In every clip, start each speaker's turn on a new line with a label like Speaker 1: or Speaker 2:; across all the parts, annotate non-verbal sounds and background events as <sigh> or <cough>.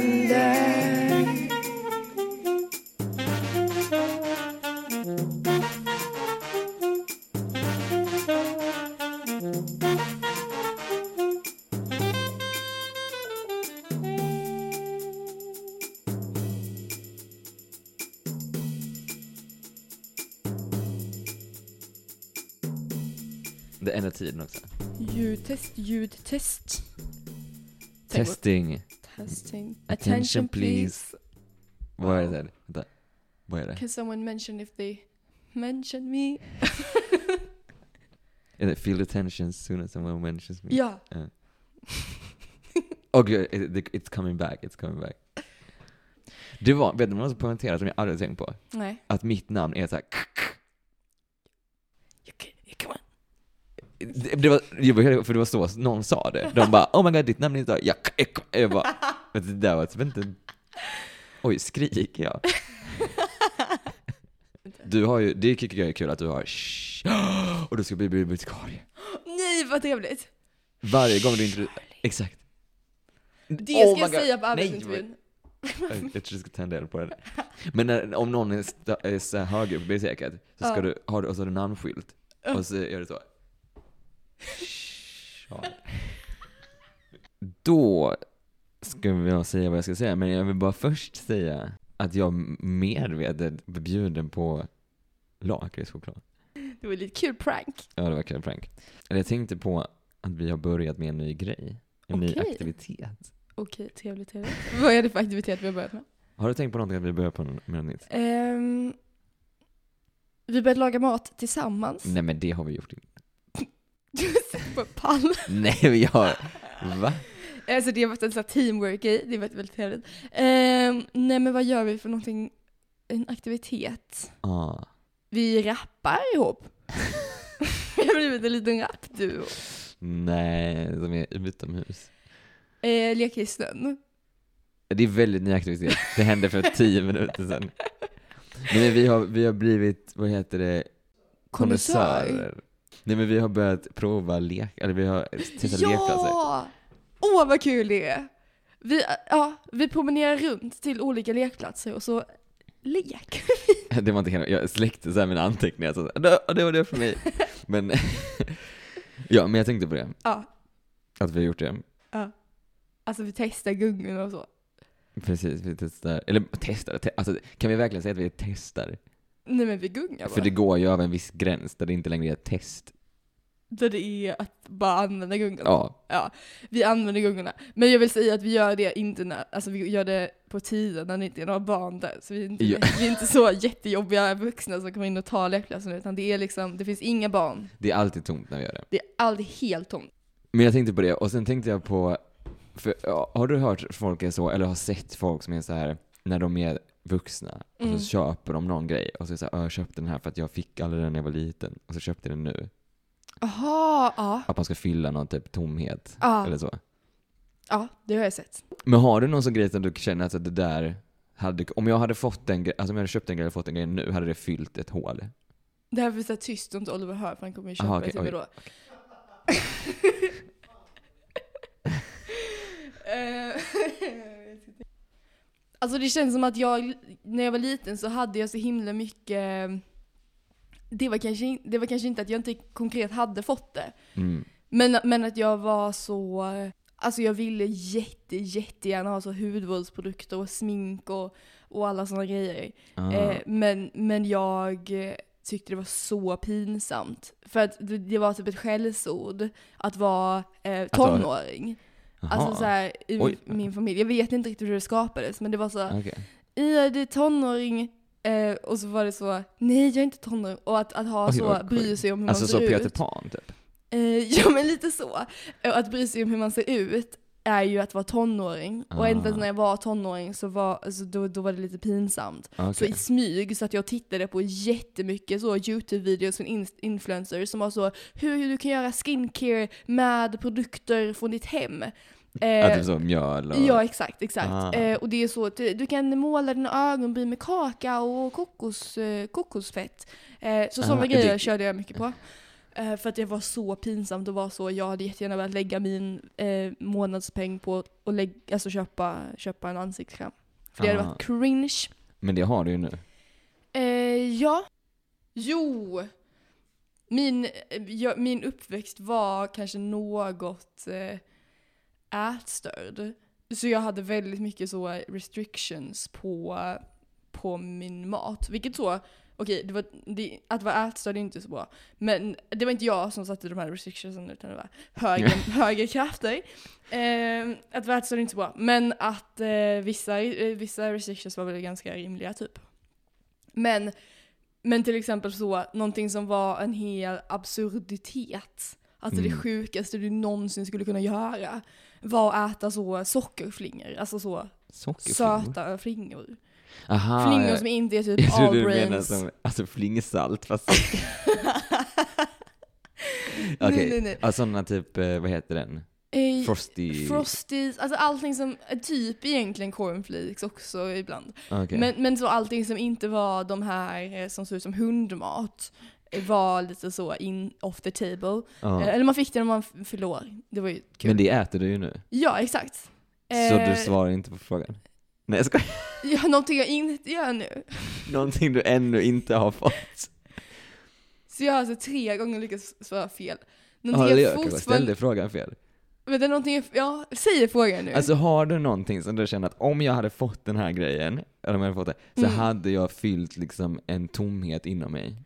Speaker 1: stunder
Speaker 2: Det ändrar tiden också.
Speaker 1: Ljudtest, ljudtest. Tänk på-
Speaker 2: Testing.
Speaker 1: Testing.
Speaker 2: Attention please. Vad är det? här? Vänta. Vad är det?
Speaker 1: Can someone mention if they mention me?
Speaker 2: Är det feel attention soon as someone mentions me?
Speaker 1: Ja.
Speaker 2: Åh gud, it- it- eh, it's coming back, it's coming back. Det var, vet du vad som poängterade som jag aldrig tänkt på?
Speaker 1: Nej.
Speaker 2: Att mitt namn är såhär,
Speaker 1: You can, you can.
Speaker 2: det, det var, jag började, för det var så någon sa det. De bara, oh my god ditt namn är inte, jag, jag bara, vet du, det där var typ inte, oj skriker jag? Du har ju, det tycker jag är kul att du har shh, och du ska bli bibliotekarie.
Speaker 1: <laughs> Nej vad
Speaker 2: Oh
Speaker 1: trevligt.
Speaker 2: Varje gång du inte... Exakt.
Speaker 1: Det
Speaker 2: Oh
Speaker 1: ska jag
Speaker 2: my God.
Speaker 1: säga på
Speaker 2: Nej,
Speaker 1: arbetsintervjun.
Speaker 2: Jag <laughs> jag tror du ska tända eld på det. Men när, om någon är, sta- är så här höger på biblioteket så ska
Speaker 1: Ja.
Speaker 2: du ha och så har du namnskylt.
Speaker 1: Ja.
Speaker 2: Och så gör du så. Ja. Då ska jag säga vad jag ska säga, men jag vill bara först säga att jag medvetet blev bjuden på lakritschoklad.
Speaker 1: Det var lite kul prank.
Speaker 2: Ja, det var kul prank. Eller jag tänkte på att vi har börjat med en ny grej. En ny
Speaker 1: Okej.
Speaker 2: aktivitet.
Speaker 1: Okej, trevligt trevligt. <laughs> Vad är det för aktivitet vi har börjat med?
Speaker 2: Har du tänkt på någonting att vi börjar på med något nytt?
Speaker 1: Ehm, vi började laga mat tillsammans.
Speaker 2: Nej men det har vi gjort inte.
Speaker 1: <laughs> Du sitter på en
Speaker 2: <laughs>
Speaker 1: pall.
Speaker 2: Nej vi har... Va?
Speaker 1: Alltså det har varit en sån här teamwork i. Det har varit väldigt trevligt. Ehm, nej men vad gör vi för någonting? En aktivitet.
Speaker 2: Ah.
Speaker 1: Vi rappar
Speaker 2: <laughs>
Speaker 1: ihop. Vi har blivit en liten rappduo.
Speaker 2: Nej, de är utomhus.
Speaker 1: Eh, leker i snön.
Speaker 2: Det är väldigt ny aktivitet. Det hände för tio minuter sedan. Nej men vi har, vi har blivit, vad heter det? Konnässörer. Nej men vi har börjat prova lek, eller vi har testat lekplatser.
Speaker 1: Ja! Åh vad kul det är! Vi, ja, vi promenerar runt till olika lekplatser och så leker vi. <laughs>
Speaker 2: Det var inte hela, jag släckte så här mina anteckningar så det, det var det för mig. Men, <laughs> ja men jag tänkte på det,
Speaker 1: Ja,
Speaker 2: att vi har gjort det.
Speaker 1: alltså vi testar gungorna och så.
Speaker 2: Precis, vi testar, eller testar, te, alltså kan vi verkligen säga att vi testar?
Speaker 1: Nej men vi gungar bara.
Speaker 2: För det går ju över en viss gräns där det inte längre är ett test.
Speaker 1: Där det är att bara använda gungorna.
Speaker 2: Ja,
Speaker 1: Vi använder gungorna. Men jag vill säga att vi gör det inte när, alltså vi gör det på tiden när det inte är några barn där. Så vi är inte,
Speaker 2: Ja.
Speaker 1: <laughs> vi är inte så jättejobbiga vuxna som kommer in och tar lekplatsen utan det är liksom, det finns inga barn.
Speaker 2: det är alltid tomt när vi gör det.
Speaker 1: Det är aldrig helt tomt.
Speaker 2: Men jag tänkte på det, och sen tänkte jag på, för, ja, har du hört folk är så, eller har sett folk som är så här när de är vuxna, och så
Speaker 1: Mm.
Speaker 2: köper de någon grej, och så är det så här, "Ja, jag köpte den här för att jag fick aldrig den när jag var liten, och så köpte jag den nu.
Speaker 1: Jaha, ja.
Speaker 2: Att man ska fylla någon typ tomhet,
Speaker 1: Ja,
Speaker 2: eller så.
Speaker 1: ja, det har jag sett.
Speaker 2: Men har du någon sån grej som du känner att det där, hade, om jag hade fått den gre- alltså om jag hade köpt en grej och fått en grej nu, hade det fyllt ett hål?
Speaker 1: Det här får vi säga tyst om inte Oliver hör för han kommer ju köpa
Speaker 2: Aha,
Speaker 1: det
Speaker 2: okej,
Speaker 1: till mig då. Eh, <laughs> alltså det känns som att jag, när jag var liten så hade jag så himla mycket det var, kanske, in- det var kanske inte att jag inte konkret hade fått det.
Speaker 2: Mm.
Speaker 1: Men, men att jag var så... Alltså jag ville jätte, jättegärna ha så hudvårdsprodukter och smink och, och alla sådana grejer.
Speaker 2: Ah.
Speaker 1: Eh, men, men jag eh, tyckte det var så pinsamt. För att det, det var typ ett skällsord att vara eh,
Speaker 2: vara-
Speaker 1: tonåring.
Speaker 2: Jaha.
Speaker 1: Alltså så här, i min,
Speaker 2: Oj.
Speaker 1: min familj. Jag vet inte riktigt hur det skapades men det var så här,
Speaker 2: Okej.
Speaker 1: "Ia, du är tonåring. Eh, och så var det så, nej jag är inte tonåring. Och att, att ha
Speaker 2: Oj,
Speaker 1: så,
Speaker 2: vad
Speaker 1: bry
Speaker 2: sjukt.
Speaker 1: sig om hur
Speaker 2: Alltså
Speaker 1: man ser
Speaker 2: så Peter
Speaker 1: ut.
Speaker 2: Pan typ?
Speaker 1: Eh, ja men lite så. Eh, Och att bry sig om hur man ser ut är ju att vara tonåring. Och
Speaker 2: Ah.
Speaker 1: inte ens när jag var tonåring så var, alltså, då, då var det lite pinsamt. Så
Speaker 2: Okej.
Speaker 1: i smyg så att jag tittade på jättemycket så Youtube-videos från in- influencers som var så hur du kan göra skincare med produkter från ditt hem.
Speaker 2: Ja,
Speaker 1: Eh,
Speaker 2: typ så mjöl och...
Speaker 1: ja exakt, exakt.
Speaker 2: Ah.
Speaker 1: Eh, och det är så att du, du kan måla dina ögonbryn med kakao och kokos, eh, kokosfett. Eh, så
Speaker 2: Ah,
Speaker 1: sådana
Speaker 2: det-
Speaker 1: grejer körde jag mycket på. Eh, För att det var så pinsamt att vara så. Jag hade jättegärna velat lägga min eh, månadspeng på att lägg, alltså köpa, köpa en ansiktskräm. För det hade
Speaker 2: Ah.
Speaker 1: varit cringe.
Speaker 2: Men det har du ju nu.
Speaker 1: Eh, ja. Jo. Min, eh, jag, min uppväxt var kanske något eh, ätstörd. Så jag hade väldigt mycket så restrictions på, på min mat. Vilket så, okej, det var, det, att vara ätstörd är inte så bra. Men det var inte jag som satte de här restrictionsen utan det var högre,
Speaker 2: <laughs>
Speaker 1: högre krafter. Eh, att vara ätstörd är inte så bra. Men att eh, vissa, eh, vissa restrictions var väl ganska rimliga typ. Men, men till exempel så, någonting som var en hel absurditet. Alltså det
Speaker 2: Mm.
Speaker 1: sjukaste du någonsin skulle kunna göra var att äta så sockerflingor. Alltså så
Speaker 2: Sockerflingor?
Speaker 1: söta flingor.
Speaker 2: Aha,
Speaker 1: flingor
Speaker 2: jag-
Speaker 1: som inte
Speaker 2: <laughs>
Speaker 1: är typ
Speaker 2: Jag trodde du menade
Speaker 1: all-brains. <laughs>
Speaker 2: som, <laughs> alltså flingsalt fast... Okej,
Speaker 1: Nej, nej, nej.
Speaker 2: ja, sådana typ, eh, vad heter den?
Speaker 1: Eh,
Speaker 2: Frosty...
Speaker 1: Frosties, alltså allting som, typ egentligen cornflakes också ibland.
Speaker 2: Okej.
Speaker 1: Men, men så allting som inte var de här eh, som såg ut som hundmat eh, var lite så in off the table.
Speaker 2: Ja.
Speaker 1: Eh, Eller man fick det när man f- fyllde år. Det var ju kul.
Speaker 2: Men det äter du ju nu.
Speaker 1: Ja, exakt.
Speaker 2: Så
Speaker 1: Eh,
Speaker 2: du svarar inte på frågan? Nej jag skojar. <laughs>
Speaker 1: ja, någonting jag inte gör nu.
Speaker 2: Någonting du ännu inte har fått.
Speaker 1: Så jag har alltså tre gånger lyckats svara fel.
Speaker 2: Ja,
Speaker 1: Någonting
Speaker 2: eller
Speaker 1: jag
Speaker 2: jag kanske ställde
Speaker 1: fortfarande...
Speaker 2: frågan fel.
Speaker 1: Vänta, någonting jag... Ja, säg frågan nu.
Speaker 2: Alltså har du någonting som du känner att om jag hade fått den här grejen, eller om jag hade fått det, så
Speaker 1: Mm.
Speaker 2: hade jag fyllt liksom en tomhet inom mig?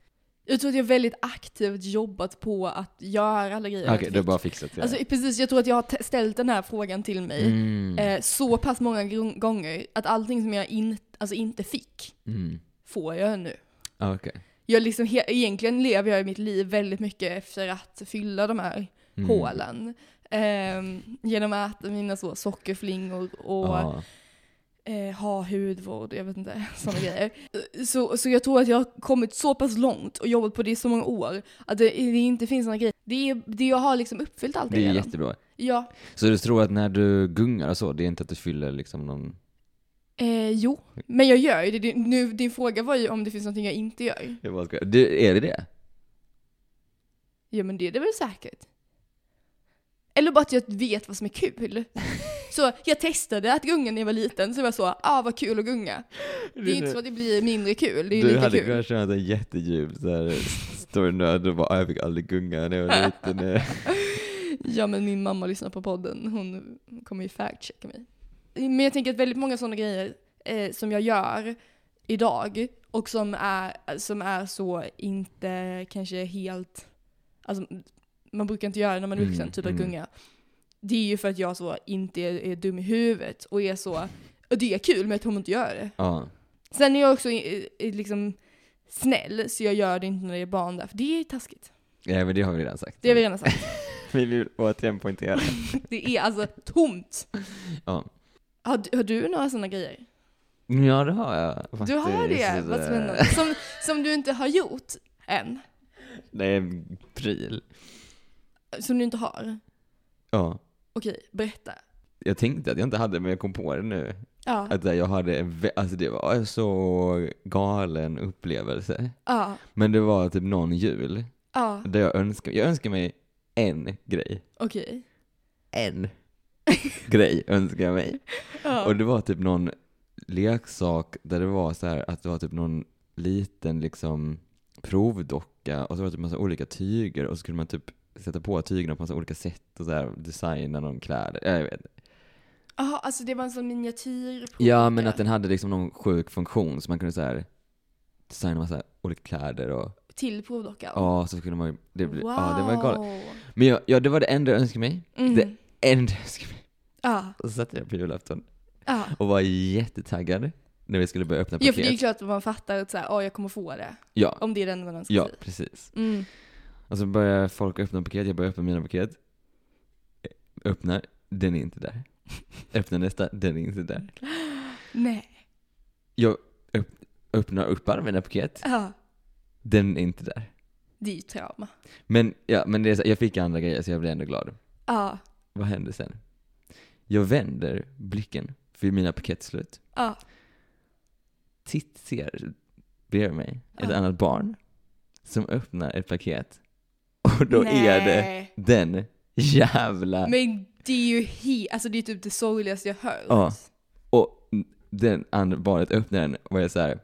Speaker 1: Jag tror att jag väldigt aktivt jobbat på att göra alla grejer jag
Speaker 2: Okej,
Speaker 1: inte
Speaker 2: du har
Speaker 1: fick.
Speaker 2: bara fixat det.
Speaker 1: Alltså precis, jag tror att jag har te- ställt den här frågan till mig
Speaker 2: mm.
Speaker 1: eh, så pass många gr- gånger att allting som jag in, alltså inte fick
Speaker 2: Mm. Ah,
Speaker 1: får jag nu.
Speaker 2: Okej.
Speaker 1: Jag liksom he- egentligen lever jag i mitt liv väldigt mycket efter att fylla de här
Speaker 2: Mm.
Speaker 1: hålen. Ehm, genom att äta mina så sockerflingor och
Speaker 2: Ja.
Speaker 1: eh, ha hudvård, jag vet inte, <laughs>
Speaker 2: <laughs>
Speaker 1: sådana grejer. Så, så jag tror att jag har kommit så pass långt och jobbat på det i så många år att det, det inte finns några grejer. Det, är, det jag har liksom uppfyllt allt
Speaker 2: Det är
Speaker 1: redan.
Speaker 2: jättebra.
Speaker 1: Ja.
Speaker 2: Så du tror att när du gungar och så, det är inte att du fyller liksom någon...
Speaker 1: Eh, jo, men jag gör ju det. Din- Nu, din fråga var ju om det finns någonting jag inte gör.
Speaker 2: Jag bara skojar. Du, är det det?
Speaker 1: Ja men det är det väl säkert. Eller bara att jag vet vad som är
Speaker 2: <laughs>
Speaker 1: kul. Så jag testade att gunga när jag var liten, så jag var så, ah vad kul att gunga. Det är inte så att det blir mindre kul, det är ju
Speaker 2: Du
Speaker 1: lika
Speaker 2: hade
Speaker 1: kul.
Speaker 2: kunnat köra en jättedjup såhär storynörd och bara "Ah, jag fick aldrig gunga när jag var
Speaker 1: <laughs>
Speaker 2: liten. eh."
Speaker 1: Ja men min mamma lyssnar på podden, hon kommer ju fact-checka mig. Men jag tänker att väldigt många sådana grejer eh, som jag gör idag och som är, som är så inte kanske helt, alltså man brukar inte göra det när man är vuxen,
Speaker 2: Mm,
Speaker 1: typ att
Speaker 2: mm.
Speaker 1: gunga. Det är ju för att jag så inte är, är dum i huvudet och är så, och det är kul men jag kommer inte göra det.
Speaker 2: Ja.
Speaker 1: Sen är jag också eh, eh, liksom snäll så jag gör det inte när det är barn där, för det är taskigt.
Speaker 2: ja, men det har vi redan sagt.
Speaker 1: Det har vi redan sagt.
Speaker 2: vi vill återigen poängtera.
Speaker 1: Det är alltså tomt.
Speaker 2: Ja.
Speaker 1: Har du, har du några sådana grejer?
Speaker 2: ja, det har jag
Speaker 1: Du har det?
Speaker 2: faktiskt.
Speaker 1: Vad spännande. <laughs> Som, som du inte har gjort än?
Speaker 2: Nej, pryl.
Speaker 1: Som du inte har?
Speaker 2: Ja.
Speaker 1: Okej, berätta.
Speaker 2: Jag tänkte att jag inte hade, men jag kom på det nu.
Speaker 1: Ja.
Speaker 2: Att eh, jag hade en, vä- alltså det var en så galen upplevelse.
Speaker 1: Ja.
Speaker 2: Men det var typ någon jul,
Speaker 1: Ja.
Speaker 2: där jag önskar, jag önskar mig en grej.
Speaker 1: Okej.
Speaker 2: En <laughs> grej önskar jag mig.
Speaker 1: Ja.
Speaker 2: Och det var typ någon leksak där det var så här att det var typ någon liten liksom provdocka och så var det typ massa olika tyger och så kunde man typ sätta på tygerna på massa olika sätt och så här designa någon kläder. Ja, Jag vet. inte.
Speaker 1: Jaha, alltså det var en sån miniatyr? på
Speaker 2: Ja,
Speaker 1: olika-
Speaker 2: men att den hade liksom någon sjuk funktion så man kunde så här designa massa olika kläder och
Speaker 1: Till provdockan?
Speaker 2: ja, så kunde man det, blev-
Speaker 1: Wow.
Speaker 2: ja, det var galet. Men jag, ja, det var det enda jag önskade mig.
Speaker 1: Mm.
Speaker 2: Det enda jag önskade mig.
Speaker 1: Ja.
Speaker 2: Och så satte jag på julafton
Speaker 1: ja.
Speaker 2: och var jättetaggad när vi skulle börja öppna
Speaker 1: Ja,
Speaker 2: paket.
Speaker 1: för det är ju klart att man fattar att så här, "Ja, jag kommer få det.
Speaker 2: ja,
Speaker 1: Om det är den man önskar
Speaker 2: ja,
Speaker 1: sig.
Speaker 2: precis.
Speaker 1: Mm.
Speaker 2: Och så börjar folk öppna paket, jag börjar öppna mina paket. Öppnar, den är inte där. Öppnar nästa, den är inte där.
Speaker 1: Nej.
Speaker 2: Jag öpp- öppnar upp alla mina paket,
Speaker 1: Ja.
Speaker 2: den är inte där.
Speaker 1: Det är ju trauma.
Speaker 2: Men, ja, men det är så, jag fick andra grejer så jag blev ändå glad.
Speaker 1: Ja.
Speaker 2: Vad händer sen? Jag vänder blicken, för mina paket är slut.
Speaker 1: Ja.
Speaker 2: Titt ser bredvid mig ett
Speaker 1: Ja.
Speaker 2: annat barn som öppnar ett paket Och då är det
Speaker 1: Nej.
Speaker 2: den jävla...
Speaker 1: Men det är ju he- alltså det är typ det sorgligaste jag hört.
Speaker 2: Ja. Och den andra barnet öppnar den och är så här.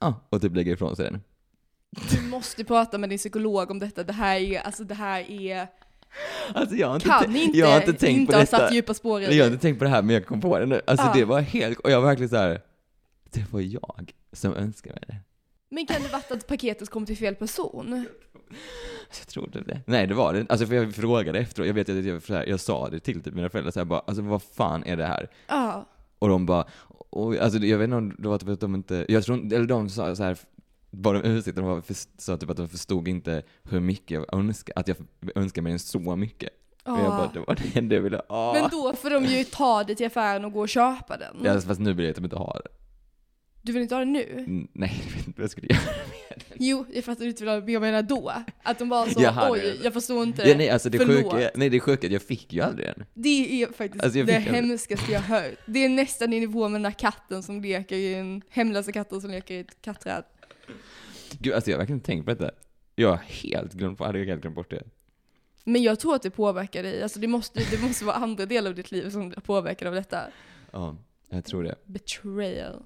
Speaker 2: Ja, och typ lägger ifrån sig den.
Speaker 1: Du måste prata med din psykolog om detta. Det här är, alltså det här är,
Speaker 2: <laughs> Alltså jag har inte,
Speaker 1: kan
Speaker 2: tän-
Speaker 1: inte,
Speaker 2: jag har inte tänkt på
Speaker 1: ha
Speaker 2: detta.
Speaker 1: satt djupa spår i
Speaker 2: Nej, Jag har
Speaker 1: det.
Speaker 2: inte tänkt på det här men jag kom på det nu. Alltså
Speaker 1: Ja.
Speaker 2: det var helt, och jag var verkligen så här. det var jag som önskade mig det.
Speaker 1: Men kan det vara att paketet kom till fel person?
Speaker 2: Alltså, Jag trodde det. Nej det var det Alltså för jag frågade efteråt, jag vet att jag, så här, jag sa det till typ mina föräldrar så här, bara, alltså vad fan är det här?
Speaker 1: Ja.
Speaker 2: Och de bara, och, alltså jag vet inte om det var typ att de inte, jag tror inte- eller de sa så här, vad de ursäktade var, för, sa typ att de förstod inte hur mycket jag önskade, att jag önskade mig så mycket. Och jag
Speaker 1: Ja.
Speaker 2: bara, det var det enda jag ville ha.
Speaker 1: Men då får de ju ta det till affären och gå och köpa den.
Speaker 2: Ja, fast nu vill jag typ inte ha det.
Speaker 1: Du vill inte ha den nu?
Speaker 2: Mm, Nej, jag vet inte vad jag skulle göra.
Speaker 1: Jo, jag fattar inte vad jag menar då. Att de bara så,
Speaker 2: Jaha, nu är
Speaker 1: oj,
Speaker 2: det-
Speaker 1: jag förstår inte.
Speaker 2: Ja, nej, alltså det
Speaker 1: Förlåt.
Speaker 2: sjuka, nej det sjuka är att jag fick ju aldrig den.
Speaker 1: Det är faktiskt
Speaker 2: Alltså, jag
Speaker 1: det
Speaker 2: fick en-
Speaker 1: hemskaste jag hört. Det är nästan i nivå med den där katten som leker i en, hemlösa katten som leker i ett katträd.
Speaker 2: Gud, alltså jag har verkligen tänkt på detta. Jag har helt glömt, hade jag helt glömt bort det.
Speaker 1: Men jag tror att det påverkar dig. Alltså det måste, det måste vara andra delar av ditt liv som påverkar av detta.
Speaker 2: Ja, jag tror det.
Speaker 1: Betrayal.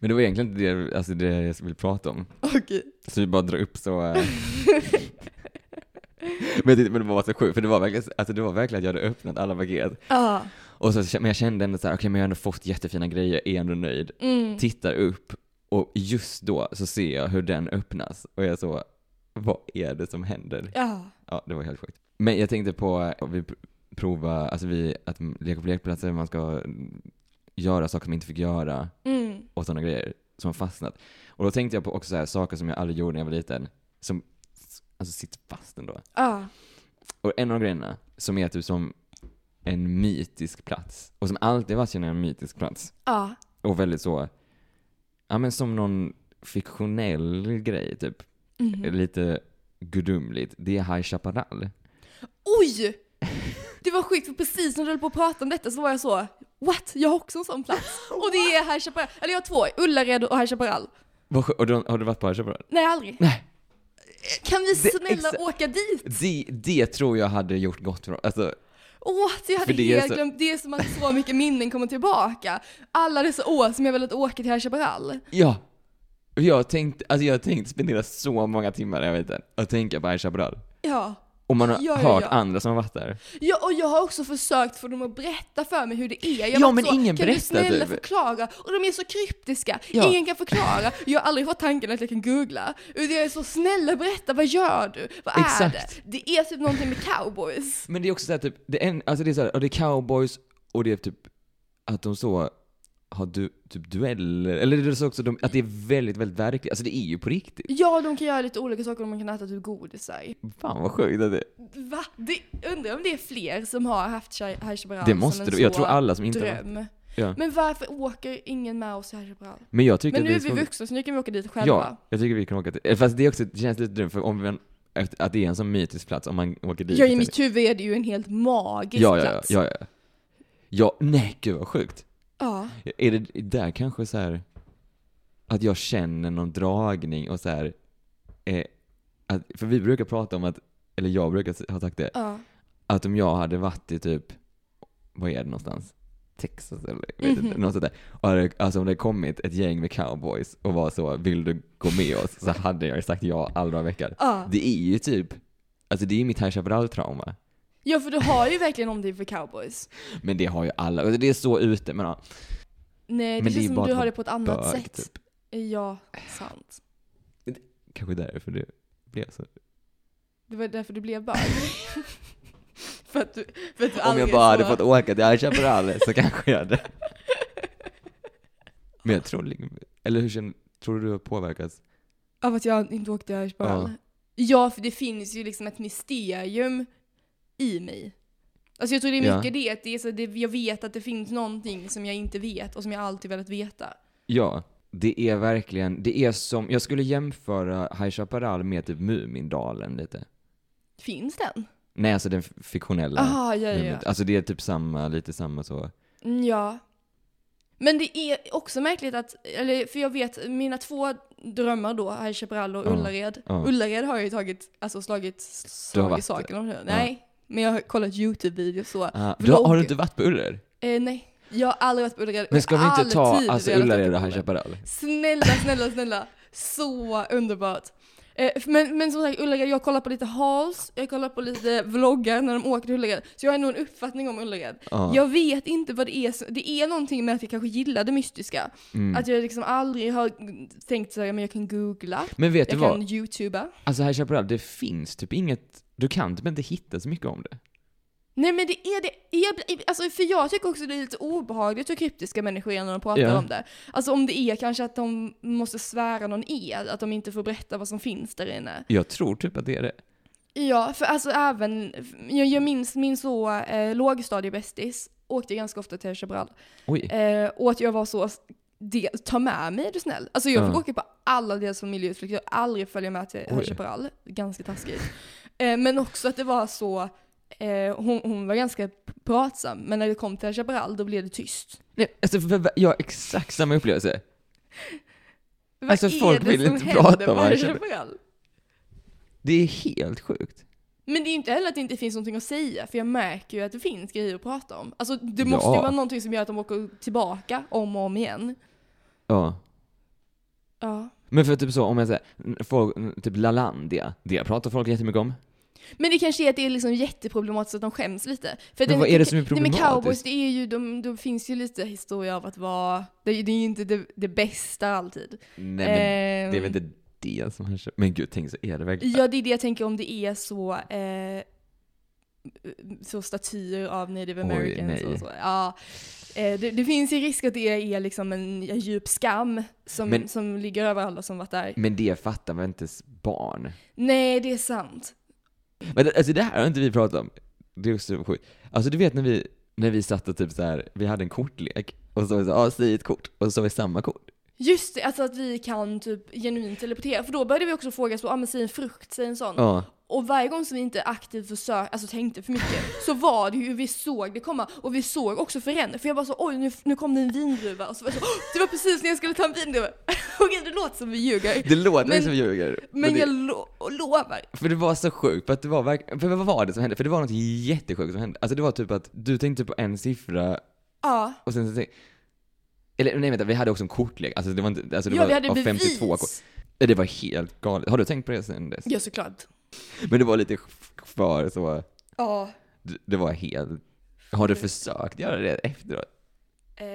Speaker 2: Men det var egentligen inte det, alltså det jag ville prata om.
Speaker 1: Okej.
Speaker 2: Så vi bara drar upp så... eh. <laughs> men, jag tyckte- men det var så sjukt, för det var, verkligen, alltså det var verkligen att jag hade öppnat alla paket.
Speaker 1: <laughs> Ah.
Speaker 2: Och så, men jag kände ändå så här, okej men jag har ändå fått jättefina grejer, är ändå nöjd.
Speaker 1: Mm.
Speaker 2: Tittar upp och just då så ser jag hur den öppnas och jag så, vad är det som händer?
Speaker 1: Ja.
Speaker 2: Ja, det var helt sjukt. Men jag tänkte på eh, vi pr- prova, alltså vi, att m- leka på lekplatser, man ska mm, göra saker man inte fick göra
Speaker 1: Mm.
Speaker 2: och sådana grejer som har fastnat. Och då tänkte jag på också så här, saker som jag aldrig gjorde när jag var liten, som s- alltså sitter fast ändå.
Speaker 1: Ah.
Speaker 2: Och en av grejerna som är typ som en mytisk plats, och som alltid varit en mytisk plats,
Speaker 1: Ah.
Speaker 2: och väldigt så, ja men som någon fiktionell grej typ,
Speaker 1: Mm.
Speaker 2: lite gudomligt, det är High Chaparral.
Speaker 1: Oj! Det var sjukt, för precis när du höll på att prata om detta så var jag så What? Jag har också en sån plats. Och det är High Chaparral. Eller jag har två, Ullared och High Chaparral.
Speaker 2: Vad sjö- Och då, har du varit på High Chaparral?
Speaker 1: Nej, aldrig.
Speaker 2: Nej.
Speaker 1: Kan vi
Speaker 2: Det-
Speaker 1: snälla
Speaker 2: exa-
Speaker 1: åka dit?
Speaker 2: Det, det tror jag hade gjort gott för dem. Alltså,
Speaker 1: Åh, jag hade
Speaker 2: För det är
Speaker 1: helt
Speaker 2: så-
Speaker 1: glömt. Det är som att så mycket minnen kommer tillbaka. Alla dessa år som jag velat åka till High Chaparral.
Speaker 2: ja. Jag tänkte, alltså jag tänkte spendera så många timmar, jag vet inte, att tänka på Aisha Chaparral.
Speaker 1: Ja.
Speaker 2: Och man har
Speaker 1: Ja, ja,
Speaker 2: hört
Speaker 1: ja.
Speaker 2: andra som har varit där.
Speaker 1: ja. Och jag har också försökt få dem att berätta för mig hur det är. Jag
Speaker 2: Ja,
Speaker 1: har varit
Speaker 2: men
Speaker 1: så,
Speaker 2: ingen
Speaker 1: kan
Speaker 2: berättar,
Speaker 1: du snälla
Speaker 2: typ."
Speaker 1: förklara? Och de är så kryptiska.
Speaker 2: Ja.
Speaker 1: Ingen kan förklara. Jag har aldrig fått tanken att jag kan googla. Utan jag är så, snälla berätta, vad gör du? Vad är
Speaker 2: Exakt.
Speaker 1: det? Det är typ någonting med cowboys.
Speaker 2: Men det är också såhär typ, det är, en, alltså det är, så här, och det är cowboys och det är typ att de så har du, typ dueller, eller det är så också de, att det är väldigt, väldigt verkligt. Alltså det är ju på riktigt.
Speaker 1: Ja, de kan göra lite olika saker. De kan äta typ godisar.
Speaker 2: Fan vad sjukt att det
Speaker 1: Va? Det, undrar om det är fler som har haft Shai- High Chaparral
Speaker 2: Det
Speaker 1: som
Speaker 2: måste
Speaker 1: en
Speaker 2: du, jag
Speaker 1: så
Speaker 2: tror alla som inte har varit.
Speaker 1: dröm.
Speaker 2: Ja.
Speaker 1: Men varför åker ingen med oss till High Chaparral?
Speaker 2: Men jag tycker
Speaker 1: Men
Speaker 2: att
Speaker 1: nu
Speaker 2: det
Speaker 1: är
Speaker 2: så-
Speaker 1: vi vuxna så nu kan vi åka dit
Speaker 2: Ja,
Speaker 1: själva.
Speaker 2: jag tycker vi kan åka till... eh, Fast det, är också, det känns lite dumt, för om vi, efter- att det är en sån mytisk plats om man åker dit. typ.
Speaker 1: Ja, i mitt huvud är det ju en helt magisk
Speaker 2: ja, ja, ja,
Speaker 1: plats.
Speaker 2: ja, ja. Ja, nej gud vad sjukt.
Speaker 1: ja.
Speaker 2: Är det där kanske så här att jag känner någon dragning och så här, eh, att, för vi brukar prata om att, eller jag brukar s- ha sagt det,
Speaker 1: ja.
Speaker 2: att om jag hade varit i typ, vad är det någonstans? Texas eller jag vet inte,
Speaker 1: Mhm.
Speaker 2: något sånt där. Och hade- Alltså om det kommit ett gäng med cowboys och var så, vill du gå med oss? Så hade jag ju sagt ja alla dagar i veckan.
Speaker 1: Ja.
Speaker 2: Det är ju typ, alltså det är ju mitt High Chaparral-trauma.
Speaker 1: ja, för du har ju verkligen någonting för cowboys.
Speaker 2: Men det har ju alla, alltså det är så ute men ja.
Speaker 1: Nej, det
Speaker 2: Men det är ju
Speaker 1: känns som du
Speaker 2: bara att typ.
Speaker 1: har
Speaker 2: vara
Speaker 1: det på ett annat
Speaker 2: bög,
Speaker 1: sätt. Ja, sant.
Speaker 2: Kanske därför det blev så.
Speaker 1: Det var därför du blev
Speaker 2: <laughs>
Speaker 1: bög. för att du, för att du
Speaker 2: Om jag
Speaker 1: aldrig
Speaker 2: bara
Speaker 1: är
Speaker 2: hade
Speaker 1: så-
Speaker 2: fått åka till High Chaparral så kanske jag hade. Men jag tror, liksom- eller hur känner, tror du du har påverkats?
Speaker 1: Av att jag inte åkte till High Chaparral?
Speaker 2: Ja.
Speaker 1: Ja, för det finns ju liksom ett mysterium i mig. Alltså jag tror det är
Speaker 2: Ja.
Speaker 1: mycket det, att det är så det, jag vet att det finns någonting som jag inte vet och som jag alltid velat veta.
Speaker 2: Ja, det är verkligen, det är som, jag skulle jämföra High Chaparral med typ Mumindalen lite.
Speaker 1: Finns den?
Speaker 2: Nej, alltså den fiktionella.
Speaker 1: Aha, ja, ja, ja.
Speaker 2: Mumin- Alltså det är typ samma, lite samma så.
Speaker 1: Mm, ja. Men det är också märkligt att, eller för jag vet, mina två drömmar då, High Chaparral och
Speaker 2: Ja,
Speaker 1: Ullared.
Speaker 2: ja.
Speaker 1: Ullared har jag ju tagit, alltså slagit
Speaker 2: Du har
Speaker 1: slag i
Speaker 2: varit
Speaker 1: saken om det. Nej, men jag har kollat YouTube-videos så.
Speaker 2: Ah, du, har- har
Speaker 1: Vlogg.
Speaker 2: du inte varit på Ullared?
Speaker 1: Eh, nej, jag har aldrig varit på Ullared.
Speaker 2: Men ska vi
Speaker 1: All
Speaker 2: inte ta
Speaker 1: tid
Speaker 2: alltså,
Speaker 1: jag har lagt
Speaker 2: Ullared
Speaker 1: upp
Speaker 2: och High
Speaker 1: Ullared.
Speaker 2: Chaparral?
Speaker 1: Snälla, snälla, snälla. Så underbart. Eh, Men, men som sagt, Ullared, jag kollar på lite hauls, jag kollar på lite vloggar när de åker till Ullared. Så jag har nog en uppfattning om Ullared.
Speaker 2: Ja.
Speaker 1: Jag vet inte vad det är, som- det är någonting med att jag kanske gillar det mystiska.
Speaker 2: Mm.
Speaker 1: Att jag liksom aldrig har tänkt såhär, men jag kan googla,
Speaker 2: Men vet du
Speaker 1: jag
Speaker 2: vad?
Speaker 1: kan youtuba.
Speaker 2: Alltså High Chaparral, det finns typ inget, du kan typ inte hitta så mycket om det.
Speaker 1: Nej men det är det, är, alltså för jag tycker också det är lite obehagligt hur kryptiska människor är när de pratar
Speaker 2: Ja.
Speaker 1: om det. Alltså om det är kanske att de måste svära någon ed, att de inte får berätta vad som finns där inne.
Speaker 2: Jag tror typ att det är det.
Speaker 1: Ja, för alltså även, jag, jag minns min så eh, lågstadiebästis, åkte ganska ofta till Chabrall.
Speaker 2: Oj.
Speaker 1: Eh, och att jag var så, de, ta med mig är du snäll. Alltså jag fick
Speaker 2: Ja.
Speaker 1: åka på alla deras familjeutflykter, aldrig följa med till High
Speaker 2: Oj.
Speaker 1: Chaparral. Ganska taskigt. Eh, men också att det var så, eh, hon, hon var ganska pratsam, men när det kom till High Chaparral då blev det tyst.
Speaker 2: Nej, alltså, för- för- jag har exakt samma upplevelse.
Speaker 1: Vad
Speaker 2: Alltså, folk
Speaker 1: det
Speaker 2: vill
Speaker 1: som
Speaker 2: inte
Speaker 1: händer
Speaker 2: prata
Speaker 1: på
Speaker 2: om High
Speaker 1: High
Speaker 2: Chaparral.
Speaker 1: Chaparral?
Speaker 2: Det är helt sjukt.
Speaker 1: Men det är ju inte heller att det inte finns någonting att säga, för jag märker ju att det finns grejer att prata om. Alltså det
Speaker 2: Ja.
Speaker 1: måste ju vara någonting som gör att de åker tillbaka om och om igen.
Speaker 2: Ja.
Speaker 1: Ja.
Speaker 2: Men för typ så, om jag säger, folk, typ Lalandia, det pratar folk jättemycket om.
Speaker 1: Men det kanske är att det är liksom jätteproblematiskt att de skäms lite. För
Speaker 2: Men vad är det som är
Speaker 1: Nej, men
Speaker 2: problematiskt?
Speaker 1: cowboys, det är ju, de, de finns ju lite historia av att vara, det, är- det är ju inte det, det bästa alltid.
Speaker 2: Nej men
Speaker 1: Ehm,
Speaker 2: det är väl inte det som han köper. Men gud, tänk så är det verkligen.
Speaker 1: Ja, det är det jag tänker om det är så, eh, så statyer av native
Speaker 2: Oj,
Speaker 1: americans
Speaker 2: nej.
Speaker 1: och så. Ja, eh, det, det finns ju risk att det är liksom en djup skam som,
Speaker 2: Men-
Speaker 1: som ligger över alla som varit där.
Speaker 2: Men det fattar väl inte s- barn?
Speaker 1: Nej, det är sant.
Speaker 2: Men det- alltså det här har inte vi pratat om. Det är också sjukt. Alltså du vet när vi, när vi satt och typ så här, vi hade en kortlek. Och så var det så, ja säg ett kort. Och så var det samma kort.
Speaker 1: Just det, alltså att vi kan typ genuint teleportera. För då började vi också fråga så, ah, men säg en frukt, säg en sån.
Speaker 2: Ja.
Speaker 1: Och varje gång som vi inte aktivt försökte, alltså tänkte för mycket, så var det ju, vi såg det komma och vi såg också förändring. För jag bara så oj nu, nu kom det en vindruva och så var jag så, "Åh, det var precis när jag skulle ta en vindruva. <laughs> Okej det låter som vi ljuger.
Speaker 2: Det låter
Speaker 1: Men-
Speaker 2: men, som vi ljuger.
Speaker 1: Men
Speaker 2: det,
Speaker 1: jag lo- och lovar.
Speaker 2: För det var så sjukt, för att det var verkligen, för vad var det som hände? För det var något jättesjukt som hände. Alltså det var typ att du tänkte på en siffra
Speaker 1: Ja.
Speaker 2: och sen så tänkte, eller nej vänta, vi hade också en kortlek. Alltså det var inte, alltså det
Speaker 1: Ja
Speaker 2: var
Speaker 1: vi hade
Speaker 2: av
Speaker 1: bevis.
Speaker 2: 52 kort. Det var helt galet. Har du tänkt på det sen dess?
Speaker 1: Ja såklart.
Speaker 2: Men det var lite för så,
Speaker 1: Ja.
Speaker 2: d- det var helt... Har du försökt göra det efteråt?
Speaker 1: Eh,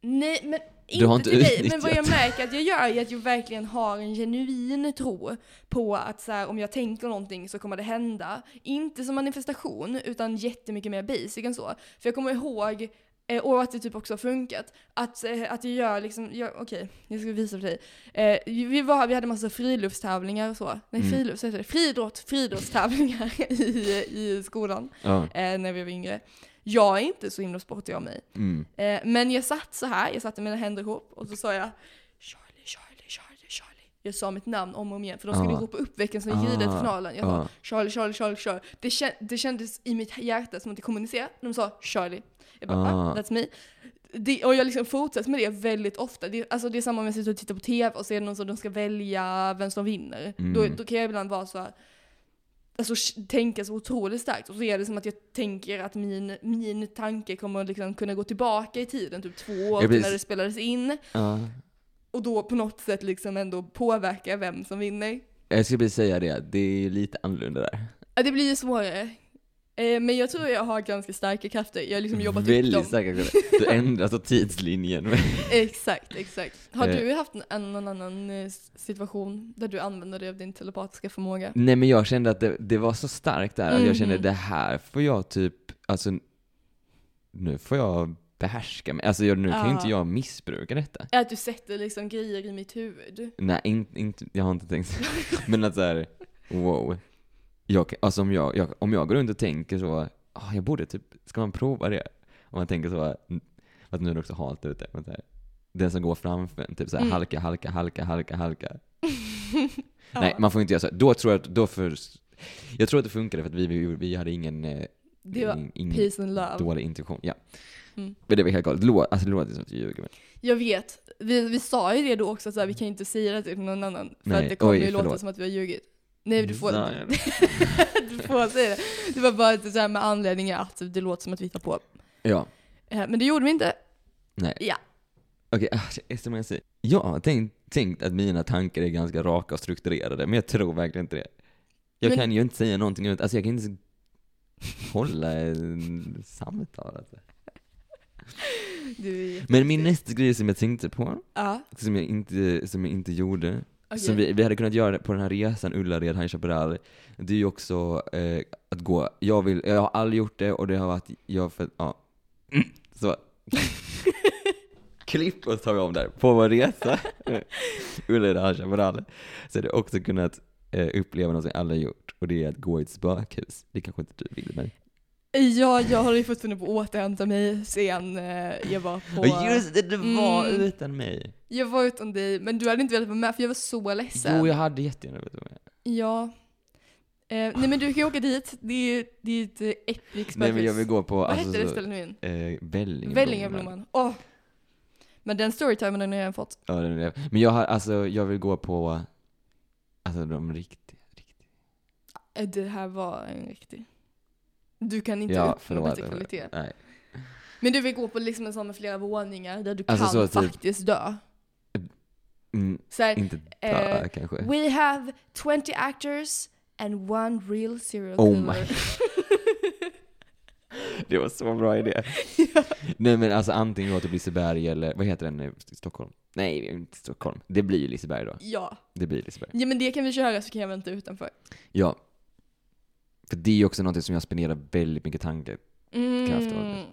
Speaker 1: nej men inte,
Speaker 2: Du har
Speaker 1: till
Speaker 2: inte
Speaker 1: dig. Men vad jag
Speaker 2: utnyttjat.
Speaker 1: märker att jag gör är att jag verkligen har en genuin tro på att så här, om jag tänker någonting så kommer det hända. Inte som manifestation utan jättemycket mer basic än så. För jag kommer ihåg eh, och att det typ också har funkat. Att, eh, att jag gör liksom, jag, okej, jag ska visa för dig. Eh, vi, var, vi hade massa friluftstävlingar och så. Nej,
Speaker 2: Mm.
Speaker 1: frilufts heter det. Friidrott, friidrottstävlingar <laughs> i, i skolan
Speaker 2: Ja.
Speaker 1: eh, när vi var yngre. Jag är inte så himla sportig av mig.
Speaker 2: Mm.
Speaker 1: Eh, men jag satt så här, jag satte mina händer ihop och så sa jag Charlie, Charlie, Charlie, Charlie. Jag sa mitt namn om och om igen för de skulle
Speaker 2: Ah.
Speaker 1: ropa upp vilken som ljudet i
Speaker 2: Ah.
Speaker 1: finalen. Jag sa
Speaker 2: Ja.
Speaker 1: Charlie, Charlie, Charlie, Charlie. Det, kän- det kändes i mitt hjärta som att det kommunicerade. De sa Charlie. Jag bara, ah.
Speaker 2: Ah.
Speaker 1: that's me. Det, och jag liksom fortsätter med det väldigt ofta. Det, alltså det är samma om jag sitter och tittar på TV och så är det någon som de ska välja vem som vinner.
Speaker 2: Mm.
Speaker 1: Då, då kan jag ibland vara så här, alltså sh- tänka så otroligt starkt. Och så är det som att jag tänker att min, min tanke kommer liksom kunna gå tillbaka i tiden, typ två år
Speaker 2: Ja,
Speaker 1: till
Speaker 2: precis.
Speaker 1: när det spelades in.
Speaker 2: Ja.
Speaker 1: Och då på något sätt liksom ändå påverka vem som vinner.
Speaker 2: Jag skulle bara säga det, det är ju lite annorlunda där.
Speaker 1: Ja, det blir ju svårare. Eh, men jag tror jag har ganska starka krafter. Jag har liksom jobbat upp dem.
Speaker 2: Väldigt starka skäl. Du ändrar så tidslinjen.
Speaker 1: Exakt, exakt. Har
Speaker 2: Eh.
Speaker 1: du haft en, någon annan eh, s- situation där du använder dig av din telepatiska förmåga?
Speaker 2: Nej men jag kände att det, det var så starkt där, att
Speaker 1: Mhm.
Speaker 2: jag kände det här får jag typ, alltså nu får jag behärska mig. Alltså jag, nu kan ju
Speaker 1: Ja.
Speaker 2: inte jag missbruka detta.
Speaker 1: Är Att du sätter liksom grejer i mitt huvud?
Speaker 2: Nej, inte, inte, jag har
Speaker 1: <laughs>
Speaker 2: inte tänkt så. Men att såhär, wow. Jag, kan- alltså om jag, jag, om jag går runt och tänker så, ah, jag borde typ, ska man prova det? Om man tänker så, n- att nu är det också halt ute. Men så här, den som går framför en, typ såhär
Speaker 1: Mm.
Speaker 2: halka, halka, halka, halka, halka.
Speaker 1: Ja.
Speaker 2: Nej, man får inte göra så. Då tror jag att, då för, jag tror att det funkade för att vi, vi, vi hade ingen, eh,
Speaker 1: det var
Speaker 2: in- ingen Mm,
Speaker 1: peace and love.
Speaker 2: dålig intuition. Ja.
Speaker 1: Mm.
Speaker 2: Men det var helt galet. Låt, alltså låt är som att jag ljuger. men-
Speaker 1: Jag vet. Vi, vi sa ju det då också, så här, vi kan inte säga det till någon annan. För
Speaker 2: Nej,
Speaker 1: att det kommer
Speaker 2: oj,
Speaker 1: ju låta
Speaker 2: förlåt.
Speaker 1: som att vi har ljugit. Nej, du får,
Speaker 2: Nej.
Speaker 1: <laughs> du får säga det. Det var bara inte så här med anledning att det låter som att vi hittar på.
Speaker 2: <laughs> Ja.
Speaker 1: Eh, Men det gjorde vi inte.
Speaker 2: Nej.
Speaker 1: Ja.
Speaker 2: Okej, ah, det är så många sidor. Jag har tänkt, tänkt att mina tankar är ganska raka och strukturerade, men jag tror verkligen inte det. Jag
Speaker 1: Men-
Speaker 2: kan ju inte säga någonting ut, alltså jag kan inte ens hålla en samtal. Alltså.
Speaker 1: Du är...
Speaker 2: Men min nästa grej som jag tänkte på,
Speaker 1: Ja,
Speaker 2: som jag inte, som jag inte gjorde,
Speaker 1: okej.
Speaker 2: som vi, vi hade kunnat göra på den här resan Ullared, High Chaparral, det är ju också eh, att gå, jag vill, jag har aldrig gjort det och det har varit, jag för, ja. Mm, Så. Klipp och tar vi om där. På vår resa, <laughs> Ullared, High Chaparral, så har du också kunnat eh, uppleva något som jag aldrig gjort och det är att gå i ett spökhus. Det kanske inte du vill, men...
Speaker 1: <laughs> Ja, jag håller ju fortfarande på att återhämta mig sen eh, jag var på...
Speaker 2: Och just det, det var
Speaker 1: Mm.
Speaker 2: utan mig.
Speaker 1: Jag var utan dig, men du hade inte velat vara med för jag var så ledsen.
Speaker 2: Jo, jag hade jättegärna velat vara med.
Speaker 1: Ja. Eh, nej men du kan ju åka dit, det är ju det är ett eh, epic
Speaker 2: Nej
Speaker 1: spökhus.
Speaker 2: men jag vill gå på,
Speaker 1: Vad
Speaker 2: alltså,
Speaker 1: hette det
Speaker 2: så-
Speaker 1: stället nu igen?
Speaker 2: eh, Vällingeblomman.
Speaker 1: Vällingeblomman. Åh! Men den storytimen har jag redan fått.
Speaker 2: Ja, det är det. Men jag, har, alltså, jag vill gå på alltså, de riktiga. riktiga.
Speaker 1: Eh, Det här var en riktig... Du kan inte
Speaker 2: Ja,
Speaker 1: uppnå
Speaker 2: förlåt.
Speaker 1: bättre kvalitet.
Speaker 2: Nej.
Speaker 1: Men du vill gå på liksom en sån med flera våningar där du
Speaker 2: Alltså,
Speaker 1: kan
Speaker 2: så typ-
Speaker 1: faktiskt dö.
Speaker 2: Mm,
Speaker 1: Så här,
Speaker 2: inte dö
Speaker 1: Eh,
Speaker 2: kanske.
Speaker 1: We have 20 actors and one real serial
Speaker 2: Oh
Speaker 1: <laughs> killer.
Speaker 2: my- <laughs> Det var så
Speaker 1: <laughs>
Speaker 2: bra idé. Nej men alltså antingen gå till Liseberg eller, vad heter den nu? Stockholm? Nej, det är inte Stockholm. Det blir ju Liseberg då.
Speaker 1: ja.
Speaker 2: Det blir Liseberg.
Speaker 1: ja, men det kan vi köra så kan jag vänta utanför.
Speaker 2: Ja. För det är ju också något som jag spenderar väldigt mycket tanke. Kraftverket.
Speaker 1: Mm.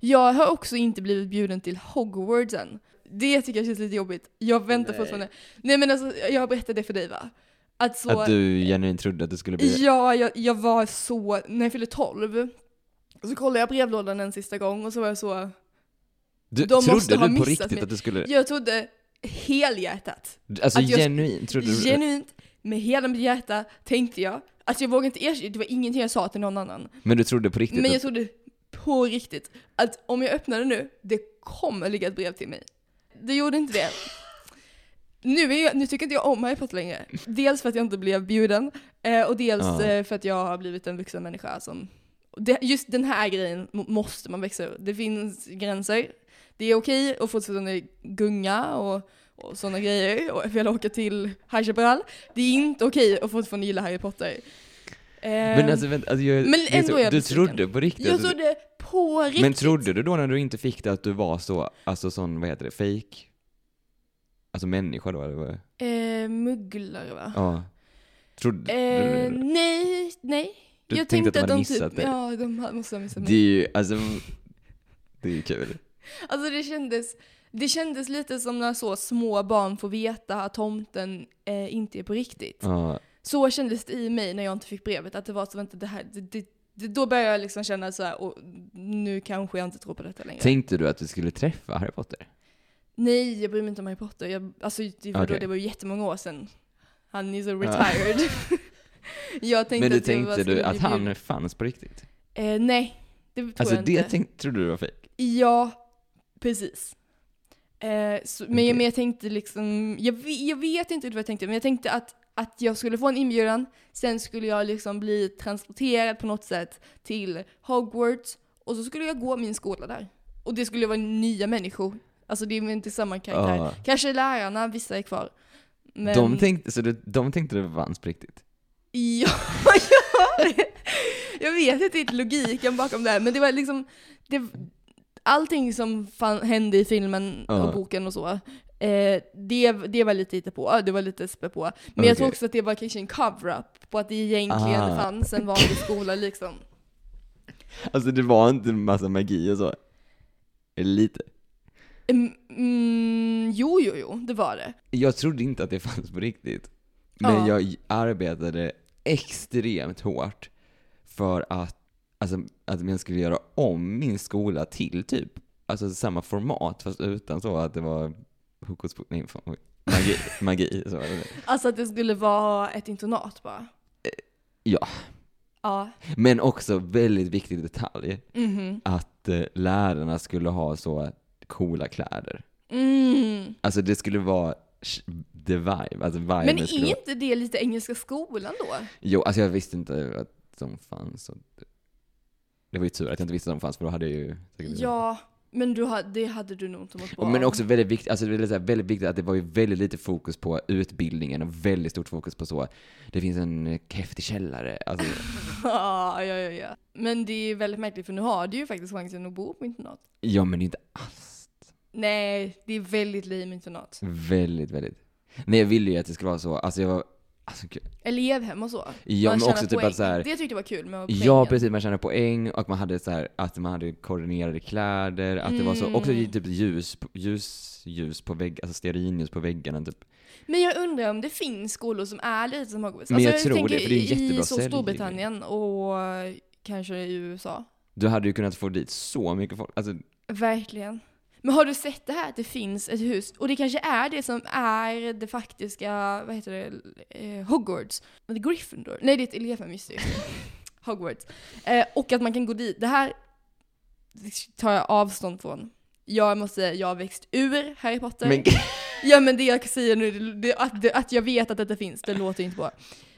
Speaker 1: Jag har också inte blivit bjuden till Hogwarts än. Det tycker jag känns lite jobbigt. Jag väntar
Speaker 2: Nej.
Speaker 1: fortfarande. Nej men alltså, jag berättade det för dig va? Att så...
Speaker 2: Att du genuint trodde att du skulle bli
Speaker 1: Ja, jag, jag var så... När jag fyllde 12 så kollade jag brevlådan en sista gång och så var jag så...
Speaker 2: Du
Speaker 1: de måste
Speaker 2: trodde
Speaker 1: ha
Speaker 2: du på
Speaker 1: missat
Speaker 2: riktigt
Speaker 1: mig.
Speaker 2: att du skulle,
Speaker 1: Jag trodde helhjärtat
Speaker 2: alltså
Speaker 1: att jag-
Speaker 2: genuint trodde du
Speaker 1: Genuint, med hela mitt hjärta tänkte jag. Alltså jag vågade inte erkänna, det var ingenting jag sa till någon annan.
Speaker 2: Men du trodde på riktigt typ.
Speaker 1: Men jag
Speaker 2: att,
Speaker 1: trodde på riktigt att om jag öppnar det nu, det kommer ligga ett brev till mig. Det gjorde inte det. Nu, är jag, nu tycker inte jag om Harry Potter längre. Dels för att jag inte blev bjuden, eh, och dels
Speaker 2: Ja.
Speaker 1: eh, för att jag har blivit en vuxen människa som... Det, just den här grejen må- måste man växa ur. Det finns gränser. Det är okej att fortfarande gunga och, och sådana grejer och vilja åka till High Chaparral. Det är inte okej att fortfarande gilla Harry Potter.
Speaker 2: Men
Speaker 1: Ehm,
Speaker 2: alltså vänta, alltså, jag,
Speaker 1: Men
Speaker 2: det är
Speaker 1: ändå
Speaker 2: så,
Speaker 1: är jag
Speaker 2: du
Speaker 1: besviken.
Speaker 2: trodde på riktigt?
Speaker 1: jag
Speaker 2: alltså,
Speaker 1: trodde på riktigt.
Speaker 2: Men trodde du då när du inte fick det att du var så, alltså sån, vad heter det, fake? Alltså människa då eller vad?
Speaker 1: Eh, mugglare va?
Speaker 2: Ja. Trodde
Speaker 1: Eh,
Speaker 2: du det?
Speaker 1: nej, nej.
Speaker 2: Du
Speaker 1: jag
Speaker 2: tänkte att de
Speaker 1: tänkte
Speaker 2: hade
Speaker 1: att de
Speaker 2: missat
Speaker 1: typ,
Speaker 2: dig.
Speaker 1: Ja, de ha- måste ha missat
Speaker 2: Det
Speaker 1: mig.
Speaker 2: är ju, alltså, det är ju kul.
Speaker 1: Alltså det kändes, det kändes lite som när så små barn får veta att tomten eh, inte är på riktigt.
Speaker 2: Ja.
Speaker 1: Så kändes det i mig när jag inte fick brevet. Att det var så, vänta, det här, det, det, det, då började jag liksom känna så här, och nu kanske jag inte tror på detta längre.
Speaker 2: Tänkte du att vi skulle träffa Harry Potter?
Speaker 1: Nej, jag bryr mig inte om Harry Potter. Jag, alltså, det, var då,
Speaker 2: Okej.
Speaker 1: det var ju jättemånga år sedan. Han är så
Speaker 2: Ja.
Speaker 1: retired.
Speaker 2: <laughs>
Speaker 1: jag tänkte
Speaker 2: Men du
Speaker 1: att jag bara
Speaker 2: tänkte
Speaker 1: skulle
Speaker 2: du att
Speaker 1: bli
Speaker 2: han
Speaker 1: bjuden.
Speaker 2: fanns på riktigt?
Speaker 1: Eh, nej, det tror
Speaker 2: Alltså
Speaker 1: jag
Speaker 2: det
Speaker 1: inte.
Speaker 2: tänk, trodde du var fake?
Speaker 1: Ja, precis. Eh, så, men,
Speaker 2: Okej.
Speaker 1: jag, men jag tänkte liksom, jag, ve- jag vet inte riktigt vad jag tänkte, men jag tänkte att, att jag skulle få en inbjudan, sen skulle jag liksom bli transporterad på något sätt till Hogwarts, och så skulle jag gå min skola där. Och det skulle vara nya människor. Alltså det är väl inte samma karaktär.
Speaker 2: Ja.
Speaker 1: Kanske lärarna, vissa är kvar. Men...
Speaker 2: De tänkte, så du, de tänkte det fanns på riktigt?
Speaker 1: <laughs> Ja, ja. Jag vet inte riktigt logiken bakom det här, men det var liksom... Det, allting som fan, hände i filmen och
Speaker 2: Ja.
Speaker 1: boken och så, eh, det, det var lite hittepå, på, det var lite spä på. Men
Speaker 2: Okej.
Speaker 1: jag tror också att det var kanske en cover-up på att det egentligen
Speaker 2: Ah.
Speaker 1: fanns en
Speaker 2: <laughs>
Speaker 1: vanlig skola liksom.
Speaker 2: Alltså det var inte en massa magi och så? Eller lite?
Speaker 1: Mm, Mm, jo, jo, jo, det var det.
Speaker 2: Jag trodde inte att det fanns på riktigt. Men
Speaker 1: Ja.
Speaker 2: jag arbetade extremt hårt för att, alltså, att jag skulle göra om min skola till typ, alltså samma format fast utan så att det var hokus pokus, nej fan,
Speaker 1: <laughs>
Speaker 2: magi, magi så. var det.
Speaker 1: Alltså att det skulle vara ett internat bara.
Speaker 2: Eh, ja.
Speaker 1: Ja.
Speaker 2: Men också väldigt viktig detalj
Speaker 1: Mhm.
Speaker 2: att att eh, lärarna skulle ha så coola kläder.
Speaker 1: Mm.
Speaker 2: Alltså det skulle vara sh- the vibe. Alltså vibe
Speaker 1: Men är
Speaker 2: skulle vara...
Speaker 1: inte det lite Engelska skolan då?
Speaker 2: Jo, alltså jag visste inte att de fanns. Och... Det var ju tur att jag inte visste att de fanns för då hade jag ju säkert-
Speaker 1: Ja, men du, ha- det hade du nog inte mått bra
Speaker 2: Och Men
Speaker 1: av.
Speaker 2: också väldigt viktigt, alltså det är så här, väldigt viktigt att det var ju väldigt lite fokus på utbildningen och väldigt stort fokus på så, det finns en eh, häftig källare.
Speaker 1: <laughs>
Speaker 2: Alltså,
Speaker 1: <laughs> ja, ja, ja, ja. Men det är väldigt märkligt för nu har du ju faktiskt chansen att bo på internat.
Speaker 2: ja men inte alls.
Speaker 1: Nej, det är väldigt lame internat.
Speaker 2: Väldigt, väldigt. Nej jag ville ju att det skulle vara så, alltså jag var, alltså gud.
Speaker 1: Elevhem och så.
Speaker 2: Ja
Speaker 1: Man
Speaker 2: men
Speaker 1: tjänar
Speaker 2: också typ
Speaker 1: poäng.
Speaker 2: att så här,
Speaker 1: Det tyckte jag var kul med
Speaker 2: Ja precis, man tjänade poäng och man hade så här, att man hade koordinerade kläder, att det var så, också
Speaker 1: Mm.
Speaker 2: typ ljus, ljus, ljus på vägg, alltså stearinljus på väggarna typ.
Speaker 1: Men jag undrar om det finns skolor som är lite som Hogwarts. Alltså,
Speaker 2: Men jag tror det, för det är ju jättebra
Speaker 1: I så
Speaker 2: säljning.
Speaker 1: Storbritannien och kanske i USA.
Speaker 2: Du hade ju kunnat få dit så mycket folk, alltså
Speaker 1: Verkligen. Men har du sett det här att det finns ett hus? Och det kanske är det som är det faktiska, vad heter det, eh, Hogwarts? Men det är Gryffindor? Nej det är ett elevhem, just det. <laughs> Hogwarts. Eh, och att man kan gå dit. Det här tar jag avstånd från. Jag måste säga, jag har växt ur Harry Potter.
Speaker 2: men
Speaker 1: Ja men det jag säger nu, det, det, att, det, att jag vet att detta finns, det låter ju inte bra.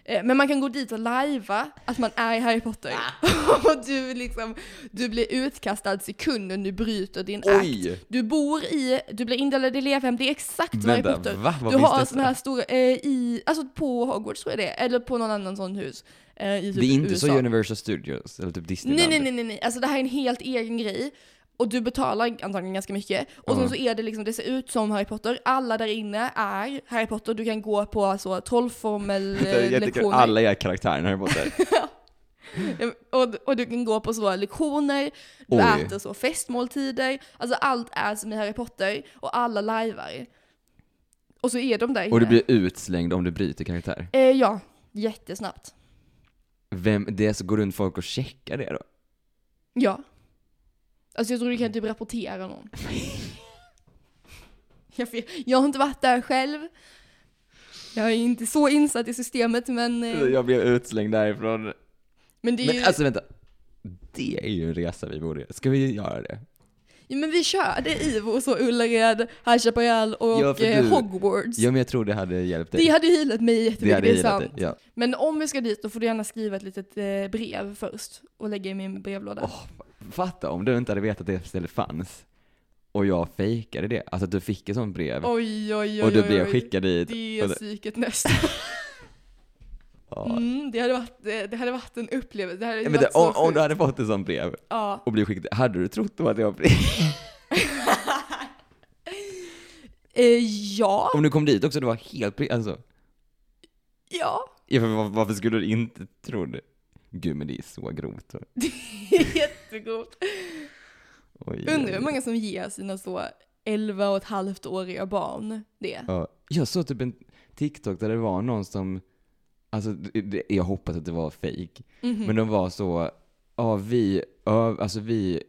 Speaker 1: Eh, Men man kan gå dit och lajva att man är Harry Potter.
Speaker 2: Ah.
Speaker 1: <laughs> Och du, liksom, du blir utkastad sekunden du bryter din akt.
Speaker 2: oj!
Speaker 1: Du bor i, du blir indelad i elevhem, det är exakt som Harry
Speaker 2: Vänta,
Speaker 1: Potter.
Speaker 2: va? Vad
Speaker 1: Du
Speaker 2: finns
Speaker 1: har
Speaker 2: det?
Speaker 1: sådana här stora, eh, i, alltså på Hogwarts tror jag det är, eller på någon annan sån hus. eh, i typ
Speaker 2: Det är inte
Speaker 1: USA.
Speaker 2: så Universal Studios, eller typ Disneyland.
Speaker 1: Nej, nej, nej, nej, nej. Alltså det här är en helt egen grej. Och du betalar antagligen ganska mycket. Och
Speaker 2: Ja.
Speaker 1: sen så är det liksom, det ser ut som Harry Potter. Alla där inne är Harry Potter. Du kan gå på alltså, så
Speaker 2: <laughs> Det är jättekul,
Speaker 1: trollformellektioner.
Speaker 2: alla är karaktärerna
Speaker 1: <laughs>
Speaker 2: här borta.
Speaker 1: och, och du kan gå på så lektioner, du
Speaker 2: Oj.
Speaker 1: äter så festmåltider. Alltså allt är som i Harry Potter. Och alla lajvar. Och så är de där inne.
Speaker 2: Och du blir utslängd om du bryter karaktär.
Speaker 1: eh, ja, jättesnabbt.
Speaker 2: Vem, det är så går runt folk och checkar det då?
Speaker 1: Ja. Alltså jag tror du kan typ rapportera
Speaker 2: <laughs>
Speaker 1: någon. jag, vet, jag har inte varit där själv. Jag är inte så insatt i systemet men, eh,
Speaker 2: Mm. Jag blev utslängd därifrån.
Speaker 1: men det är ju,
Speaker 2: Men alltså vänta. Det är ju en resa vi borde göra. Ska vi göra det?
Speaker 1: ja, men vi körde Ivo och så Ullared, High Chaparral och
Speaker 2: Ja, för
Speaker 1: eh,
Speaker 2: du-
Speaker 1: Hogwarts.
Speaker 2: Ja men jag tror det hade hjälpt dig.
Speaker 1: det hade ju healat mig
Speaker 2: det
Speaker 1: jättemycket,
Speaker 2: hade
Speaker 1: det är
Speaker 2: gillat
Speaker 1: sant.
Speaker 2: dig. Ja.
Speaker 1: Men om vi ska dit då får du gärna skriva ett litet eh, brev först och lägga i min brevlåda.
Speaker 2: Åh, Fatta om du inte hade vetat att det stället fanns. Och jag fejkade det. Alltså att du fick ett sånt brev.
Speaker 1: oj, oj, oj,
Speaker 2: och du
Speaker 1: oj,
Speaker 2: blev
Speaker 1: oj.
Speaker 2: skickad dit.
Speaker 1: Det
Speaker 2: Och
Speaker 1: är
Speaker 2: det-
Speaker 1: psyket nästa.
Speaker 2: Ja.
Speaker 1: Mm, det, hade varit, eh, det hade varit en upplevelse. Det hade
Speaker 2: Ja,
Speaker 1: ju
Speaker 2: men det,
Speaker 1: varit så
Speaker 2: om, om
Speaker 1: sjukt.
Speaker 2: du hade fått ett sånt brev
Speaker 1: Ja. <laughs>
Speaker 2: och blivit skickad hade du trott då att jag blev...
Speaker 1: Eh, ja,
Speaker 2: Om du kom dit också, det var helt... pri- Alltså,
Speaker 1: ja. <laughs>
Speaker 2: ja, för var- varför skulle du inte tro det? Gud men det är så grovt. Oj,
Speaker 1: Jättegott.
Speaker 2: Oj, oj.
Speaker 1: Undrar hur många som ger sina så 11 och ett halvt åriga barn det.
Speaker 2: Ja, jag såg typ en TikTok där det var någon som, alltså det- det, jag hoppas att det var fake
Speaker 1: Mhm.
Speaker 2: men de var så, ja vi, öv, alltså vi,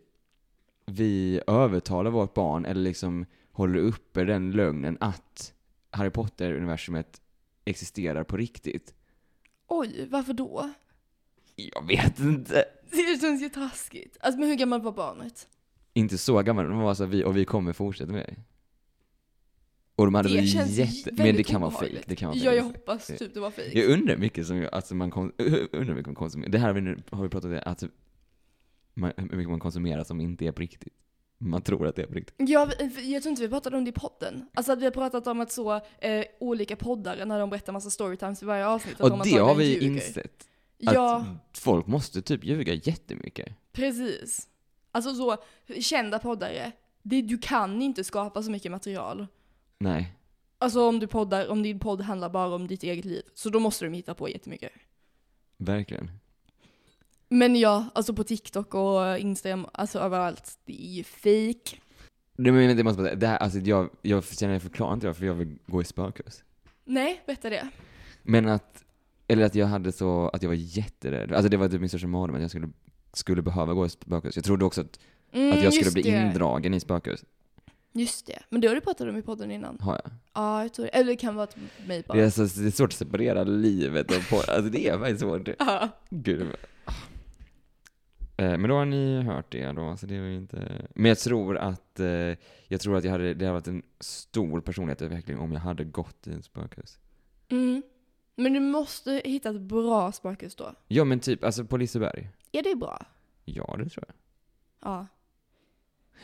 Speaker 2: vi övertalar vårt barn eller liksom håller uppe den lögnen att Harry Potter-universumet existerar på riktigt.
Speaker 1: Oj, varför då? <laughs>
Speaker 2: Jag vet inte.
Speaker 1: Det känns ju taskigt. Alltså men hur gammal var barnet?
Speaker 2: Inte så gammal, de var så här, vi, och vi kommer fortsätta med det. Och de hade
Speaker 1: Det
Speaker 2: väl
Speaker 1: känns
Speaker 2: jätte, men
Speaker 1: väldigt
Speaker 2: det kan vara
Speaker 1: obehagligt.
Speaker 2: fake. Det kan vara
Speaker 1: Ja,
Speaker 2: fake.
Speaker 1: jag hoppas typ det var fejk.
Speaker 2: Jag undrar mycket som, alltså man kon- <laughs> undrar mycket man konsumerar. Det här har vi, nu, har vi pratat om, alltså, man, hur mycket man konsumerar som inte är på riktigt. Man tror att det är på riktigt.
Speaker 1: Ja, vi- jag tror inte vi pratade om det i podden. Alltså att vi har pratat om att så eh, olika poddare när de berättar massa storytimes i varje avsnitt. att de
Speaker 2: och det har vi
Speaker 1: antagligen ljuger.
Speaker 2: insett. Att
Speaker 1: Ja,
Speaker 2: folk måste typ ljuga jättemycket.
Speaker 1: precis. Alltså så, kända poddare. Det, du kan inte skapa så mycket material.
Speaker 2: Nej.
Speaker 1: Alltså om du poddar, om din podd handlar bara om ditt eget liv. Så då måste de hitta på jättemycket.
Speaker 2: Verkligen.
Speaker 1: Men ja, alltså på TikTok och Instagram, alltså överallt. Det är ju fake.
Speaker 2: Nej men vänta, jag måste bara säga, det här, alltså jag, jag känner, jag förklarar inte varför jag vill gå i spökhus.
Speaker 1: Nej, berätta det.
Speaker 2: Men att, eller att jag hade så, att jag var jätterädd. Alltså det var typ min största mardröm att jag skulle, skulle behöva gå i spökhus. Jag trodde också att,
Speaker 1: Mm,
Speaker 2: att jag skulle
Speaker 1: just
Speaker 2: bli
Speaker 1: det.
Speaker 2: indragen i spökhus.
Speaker 1: Just det. Men det har du pratat om i podden innan.
Speaker 2: Har jag.
Speaker 1: Ja, jag tror det. Eller det kan vara till mig bara.
Speaker 2: Det är, så, det är svårt att separera livet och på, alltså det är faktiskt svårt.
Speaker 1: Ja.
Speaker 2: Gud. Eh, Men då har ni hört det då, så det var ju inte... Men jag tror att, eh, jag tror att jag hade, det hade varit en stor personlighetsutveckling om jag hade gått i ett spökhus.
Speaker 1: Mm. Men du måste hitta ett bra spökhus då.
Speaker 2: Ja men typ, alltså på Liseberg.
Speaker 1: Är det bra?
Speaker 2: Ja, det tror jag.
Speaker 1: Ja.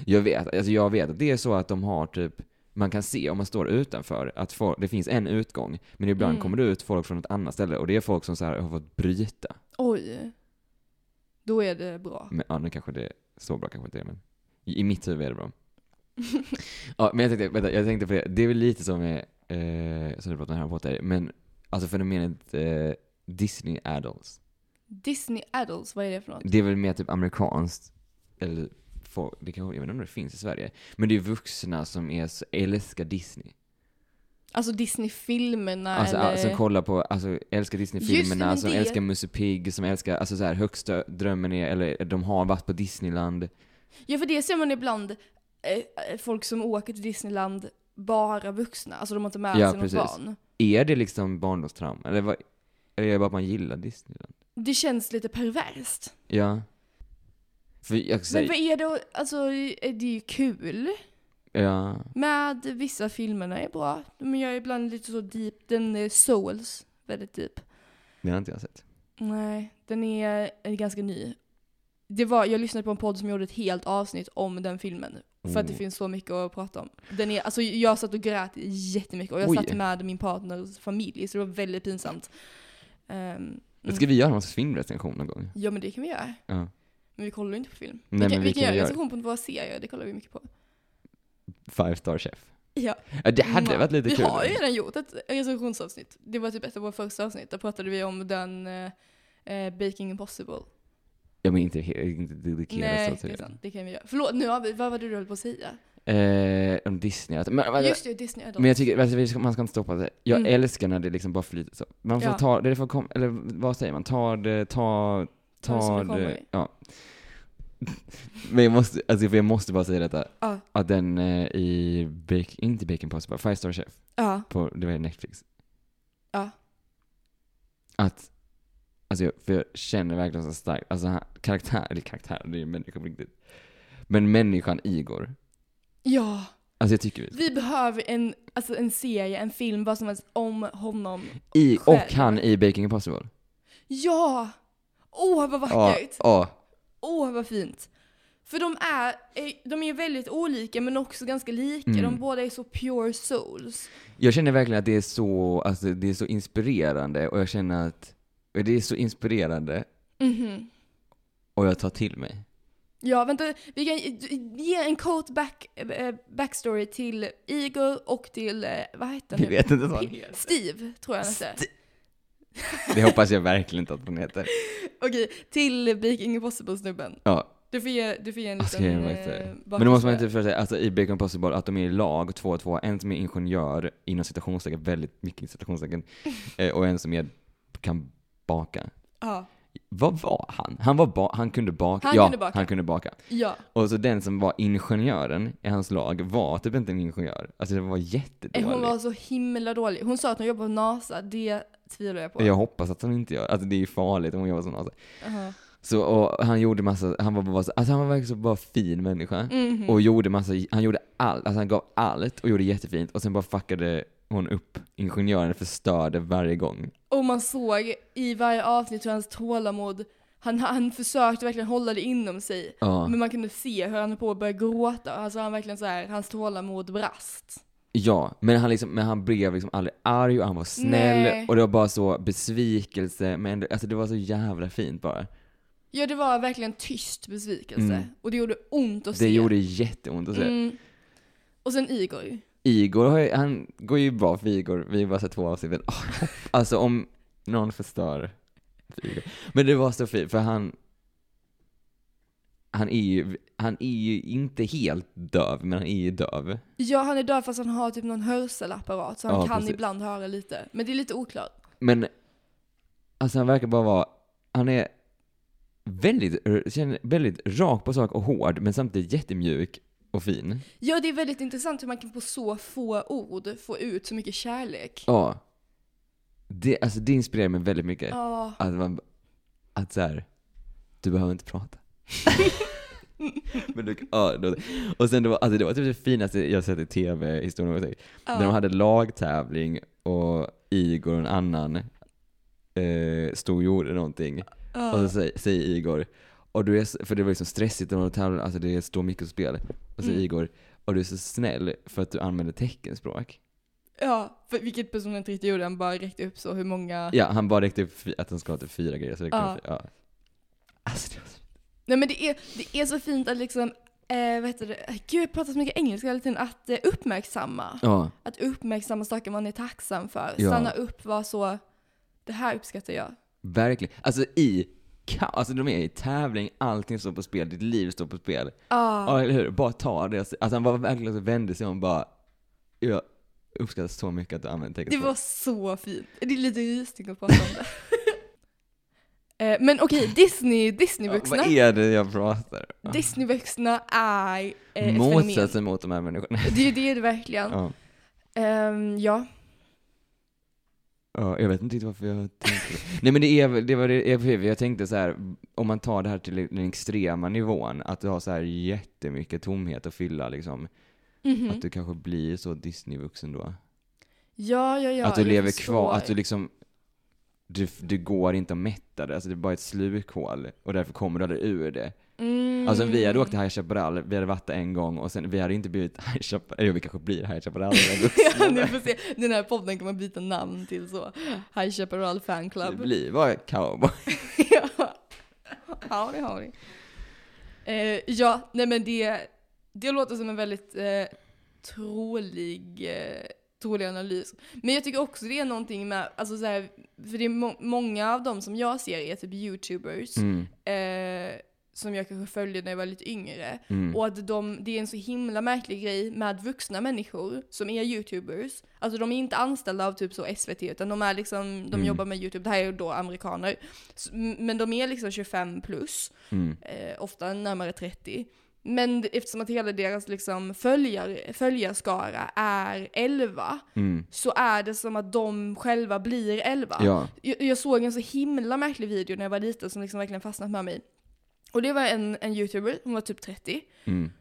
Speaker 2: Jag vet, alltså jag vet att det är så att de har typ, man kan se om man står utanför att folk, det finns en utgång, men ibland
Speaker 1: Mm.
Speaker 2: kommer det ut folk från ett annat ställe och det är folk som så här har fått bryta.
Speaker 1: Oj. Då är det
Speaker 2: <laughs>
Speaker 1: bra.
Speaker 2: Men ja, nu kanske det är så bra kanske inte det är, men i i mitt huvud är det bra. Ja, men jag tänkte, vänta, jag tänkte på det, det är väl lite som med, eh, som du pratade om Harry Potter, men alltså fenomenet eh, Disney Adults.
Speaker 1: Disney Adults, vad är det för något?
Speaker 2: Det är väl mer typ amerikanskt, eller folk, det kan, jag vet inte om det finns i Sverige, men det är vuxna som är, så- älskar Disney.
Speaker 1: Alltså Disney-filmerna
Speaker 2: Alltså,
Speaker 1: eller...
Speaker 2: Som kollar på, alltså älskar
Speaker 1: Just det,
Speaker 2: Disney-filmerna,
Speaker 1: men
Speaker 2: som
Speaker 1: det-
Speaker 2: älskar Musse Pigg, som älskar, alltså så här högsta drömmen är, eller de har varit på Disneyland.
Speaker 1: Ja för det ser man ibland, eh, eh, folk som åker till Disneyland, bara vuxna. Alltså de har inte med
Speaker 2: Ja,
Speaker 1: sig något
Speaker 2: precis.
Speaker 1: barn.
Speaker 2: Är det liksom barndomstrauma? Eller, vad, eller är det bara att man gillar Disneyland?
Speaker 1: Det känns lite perverst.
Speaker 2: Ja. För jag
Speaker 1: Men
Speaker 2: säger,
Speaker 1: vad är det, alltså eh, det är ju kul.
Speaker 2: ja.
Speaker 1: Med vissa filmerna är bra. Men jag är ibland lite så deep, den är Souls, väldigt deep.
Speaker 2: Det har inte jag sett.
Speaker 1: Nej, den är, är ganska ny. Det var, jag lyssnade på en podd som gjorde ett helt avsnitt om den filmen. För att det
Speaker 2: Oh.
Speaker 1: finns så mycket att prata om. Den är, alltså, jag satt och grät jättemycket och jag
Speaker 2: Oj.
Speaker 1: satt med min partners familj så det var väldigt pinsamt. Ehm, mm.
Speaker 2: Ska vi göra någon sorts filmrecension någon gång?
Speaker 1: Ja men det kan vi göra.
Speaker 2: Ja.
Speaker 1: Men vi kollar ju inte på film.
Speaker 2: Nej,
Speaker 1: vi,
Speaker 2: men
Speaker 1: kan,
Speaker 2: vi
Speaker 1: vi kan
Speaker 2: kan
Speaker 1: göra
Speaker 2: göra-
Speaker 1: recension på våra serier, det kollar vi mycket på.
Speaker 2: Five Star Chef.
Speaker 1: Ja.
Speaker 2: Ja, det hade varit
Speaker 1: Mm.
Speaker 2: lite
Speaker 1: vi
Speaker 2: kul.
Speaker 1: Vi har ju redan gjort ett recensionsavsnitt. Det var typ ett av våra första avsnitt. Där pratade vi om den eh, eh, Baking Impossible.
Speaker 2: Ja, men inte, he- inte dedikerat
Speaker 1: Nej,
Speaker 2: så
Speaker 1: det är
Speaker 2: till det.
Speaker 1: sant. Det kan vi göra. Förlåt, nu har vi, vad var det du höll på att säga?
Speaker 2: Eh, om Disney, att, men, men,
Speaker 1: Just det, Disney Adult.
Speaker 2: men jag tycker, alltså, vi ska- man ska inte stoppa det. Jag
Speaker 1: Mm.
Speaker 2: älskar när det liksom bara flyter så. Man får
Speaker 1: Ja.
Speaker 2: ta, det får kom, eller vad säger man? Ta det, ta,
Speaker 1: Ta det som
Speaker 2: ta
Speaker 1: det kommer.
Speaker 2: det, ja. <laughs> Men jag måste, alltså för jag måste bara säga detta.
Speaker 1: Ja.
Speaker 2: Att den eh, i, Bake, inte Bacon Impossible, Five Star Chef,
Speaker 1: Ja,
Speaker 2: på, det var ju Netflix.
Speaker 1: Ja.
Speaker 2: Att, alltså jag, för jag känner verkligen så starkt, alltså han- karaktär, eller karaktär, det är ju en människa på riktigt. Men människan Igor,
Speaker 1: ja.
Speaker 2: alltså jag tycker
Speaker 1: Vi behöver en, alltså en serie, en film, vad som helst om honom.
Speaker 2: I,
Speaker 1: själv.
Speaker 2: och han i Baking Impossible.
Speaker 1: Ja! Åh vad vackert!
Speaker 2: ja.
Speaker 1: Åh vad fint! För de är, eh, de är väldigt olika men också ganska lika.
Speaker 2: Mm.
Speaker 1: De båda är så pure souls.
Speaker 2: Jag känner verkligen att det är så, alltså det är så inspirerande och jag känner att och det är så inspirerande
Speaker 1: Mhm.
Speaker 2: och jag tar till mig.
Speaker 1: Ja, vänta. Vi kan ge en kort back, eh, backstory till Igor och till, eh, vad heter
Speaker 2: Vi
Speaker 1: han nu?
Speaker 2: vet inte vad han
Speaker 1: Pi-
Speaker 2: heter.
Speaker 1: Steve, tror jag han heter. <laughs>
Speaker 2: Det hoppas jag verkligen inte att hon heter.
Speaker 1: Okej, till Baking Impossible-snubben.
Speaker 2: Ja.
Speaker 1: Du får ge, du får ge en
Speaker 2: Alltså,
Speaker 1: liten...
Speaker 2: jag vet inte.
Speaker 1: eh,
Speaker 2: Men då måste man
Speaker 1: bakgrundsbild.
Speaker 2: inte förstå, alltså i Bacon Possible, att de är i lag, två och två, en som är ingenjör, inom citationstecken, väldigt mycket
Speaker 1: <laughs>
Speaker 2: citationstecken, eh, och en som är, kan baka.
Speaker 1: Ja.
Speaker 2: Vad var han? Han, var ba- han kunde baka.
Speaker 1: Han
Speaker 2: ja,
Speaker 1: kunde baka.
Speaker 2: han kunde baka.
Speaker 1: ja.
Speaker 2: Och så den som var ingenjören i hans lag var typ inte en ingenjör. Alltså det var
Speaker 1: Eh,
Speaker 2: jättedålig.
Speaker 1: Hon var så himla dålig. Hon sa att hon jobbar på NASA, det tvivlar jag på.
Speaker 2: Jag hoppas att hon inte gör, alltså det är ju farligt om hon jobbar som NASA.
Speaker 1: Aha.
Speaker 2: Så och han gjorde massa, han var bara, så- alltså han var verkligen så bara fin människa.
Speaker 1: Mhm.
Speaker 2: Och gjorde massa, han gjorde allt, alltså han gav allt och gjorde jättefint och sen bara fuckade hon upp ingenjören, förstörde varje gång.
Speaker 1: Och man såg i varje avsnitt hur hans tålamod, han, han försökte verkligen hålla det inom sig.
Speaker 2: Ja.
Speaker 1: Men man kunde se hur han höll på att börja gråta. Alltså han verkligen så här, hans tålamod brast.
Speaker 2: Ja, men han, liksom, men han blev liksom aldrig arg och han var snäll
Speaker 1: Nej.
Speaker 2: och det var bara så besvikelse, men ändå, alltså det var så jävla fint bara.
Speaker 1: Ja, det var verkligen tyst besvikelse.
Speaker 2: Mm.
Speaker 1: Och det gjorde ont att se.
Speaker 2: Det gjorde jätteont att se.
Speaker 1: Mm. Och sen Igor.
Speaker 2: Igor, har ju, han går ju bra för Igor, vi har bara sett två avsnitt. men, åh, alltså om någon förstör för Igor. Men det var så fint, för han han är, ju, han är ju inte helt döv, men han är ju döv.
Speaker 1: Ja, han är döv fast han har typ någon hörselapparat så han
Speaker 2: Ja,
Speaker 1: kan
Speaker 2: precis.
Speaker 1: ibland höra lite. Men det är lite oklart.
Speaker 2: Men alltså han verkar bara vara, han är väldigt, känner- väldigt rak på sak och hård, men samtidigt jättemjuk och fin.
Speaker 1: Ja, det är väldigt intressant hur man kan på så få ord få ut så mycket kärlek.
Speaker 2: Ja. Det, alltså det inspirerar mig väldigt mycket.
Speaker 1: Ja.
Speaker 2: Att man, att så här, du behöver inte prata. Men du, ja, då, och sen det var, alltså det var typ det finaste jag sett i tv-historien någonsin. När de hade lagtävling och Igor och en annan eh, stod och gjorde någonting.
Speaker 1: Ja.
Speaker 2: Och så säger, säger Igor, och du är, så- för det var liksom stressigt när man tävlade, alltså det står mycket på spel. Och säger
Speaker 1: Mm.
Speaker 2: Igor, och du är så snäll för att du använder teckenspråk.
Speaker 1: ja, för vilket personen inte riktigt gjorde, han bara räckte upp så hur många.
Speaker 2: Ja, han bara räckte upp fy- att han ska ha typ fyra grejer. Så det
Speaker 1: Ja.
Speaker 2: ja. Ja. Alltså, det var så-
Speaker 1: Nej men det är, det är så fint att liksom, eh, vad heter det, gud jag pratar så mycket engelska hela tiden, att eh, uppmärksamma.
Speaker 2: ja,
Speaker 1: Att uppmärksamma saker man är tacksam för.
Speaker 2: Ja.
Speaker 1: Stanna upp, var så, det här uppskattar jag.
Speaker 2: verkligen. Alltså i ka- Alltså de är i tävling, allting står på spel, ditt liv står på spel.
Speaker 1: Ja.
Speaker 2: Ja, eller hur? Bara ta det. Alltså han bara verkligen så vände sig om och bara, jag uppskattar så mycket att du använder
Speaker 1: Det
Speaker 2: teckenspråk.
Speaker 1: var så fint. Det är lite rysning att prata om det. <laughs> Eh, Men okej, Disney,
Speaker 2: ja,
Speaker 1: Disneyvuxna.
Speaker 2: Vad är det jag pratar om?
Speaker 1: Disneyvuxna är eh, ett fenomen.
Speaker 2: Motsatsen mot de här människorna.
Speaker 1: Det är ju det det verkligen.
Speaker 2: Ja.
Speaker 1: Ehm, ja.
Speaker 2: Ja, jag vet inte riktigt varför jag tänkte det. Nej men det, är, väl- det var det, jag- jag tänkte så här, om man tar det här till den extrema nivån, att du har så här jättemycket tomhet att fylla liksom.
Speaker 1: Mhm.
Speaker 2: Att du kanske blir så Disney-vuxen då.
Speaker 1: ja, ja, ja.
Speaker 2: att du
Speaker 1: jag
Speaker 2: lever
Speaker 1: förstår.
Speaker 2: kvar, att du liksom, du, du går inte att mätta det, alltså det är bara ett slukhål och därför kommer du aldrig ur det.
Speaker 1: Mm.
Speaker 2: Alltså vi hade åkt till High Chaparral, vi hade varit där en gång och sen, vi hade inte <laughs> blivit High Chaparral, eller vi kanske blir High Chaparral när vi är
Speaker 1: Ja,
Speaker 2: vuxna.
Speaker 1: ni får se. Den här podden kan man byta namn till så. High Chaparral Fan
Speaker 2: Vi
Speaker 1: Club.
Speaker 2: <laughs> blir bara cowboy.
Speaker 1: ja. Howdy, howdy. Eh, ja, nej men det, det låter som en väldigt eh, trolig, eh, trolig analys. Men jag tycker också det är någonting med, alltså så här, för det är må- många av dem som jag ser är typ youtubers,
Speaker 2: Mm,
Speaker 1: eh, som jag kanske följde när jag var lite yngre.
Speaker 2: mm.
Speaker 1: Och att de, det är en så himla märklig grej med vuxna människor som är youtubers. Alltså de är inte anställda av typ så SVT utan de är liksom, de
Speaker 2: Mm.
Speaker 1: jobbar med youtube, det här är ju då amerikaner. S- m- Men de är liksom 25 plus,
Speaker 2: Mm.
Speaker 1: eh, ofta närmare 30. Men d- eftersom att hela deras liksom följar, följarskara är 11
Speaker 2: Mm.
Speaker 1: så är det som att de själva blir 11.
Speaker 2: Ja.
Speaker 1: Jag, jag såg en så himla märklig video när jag var liten som liksom verkligen fastnat med mig. Och det var en, en youtuber, hon var typ 30.
Speaker 2: Mm.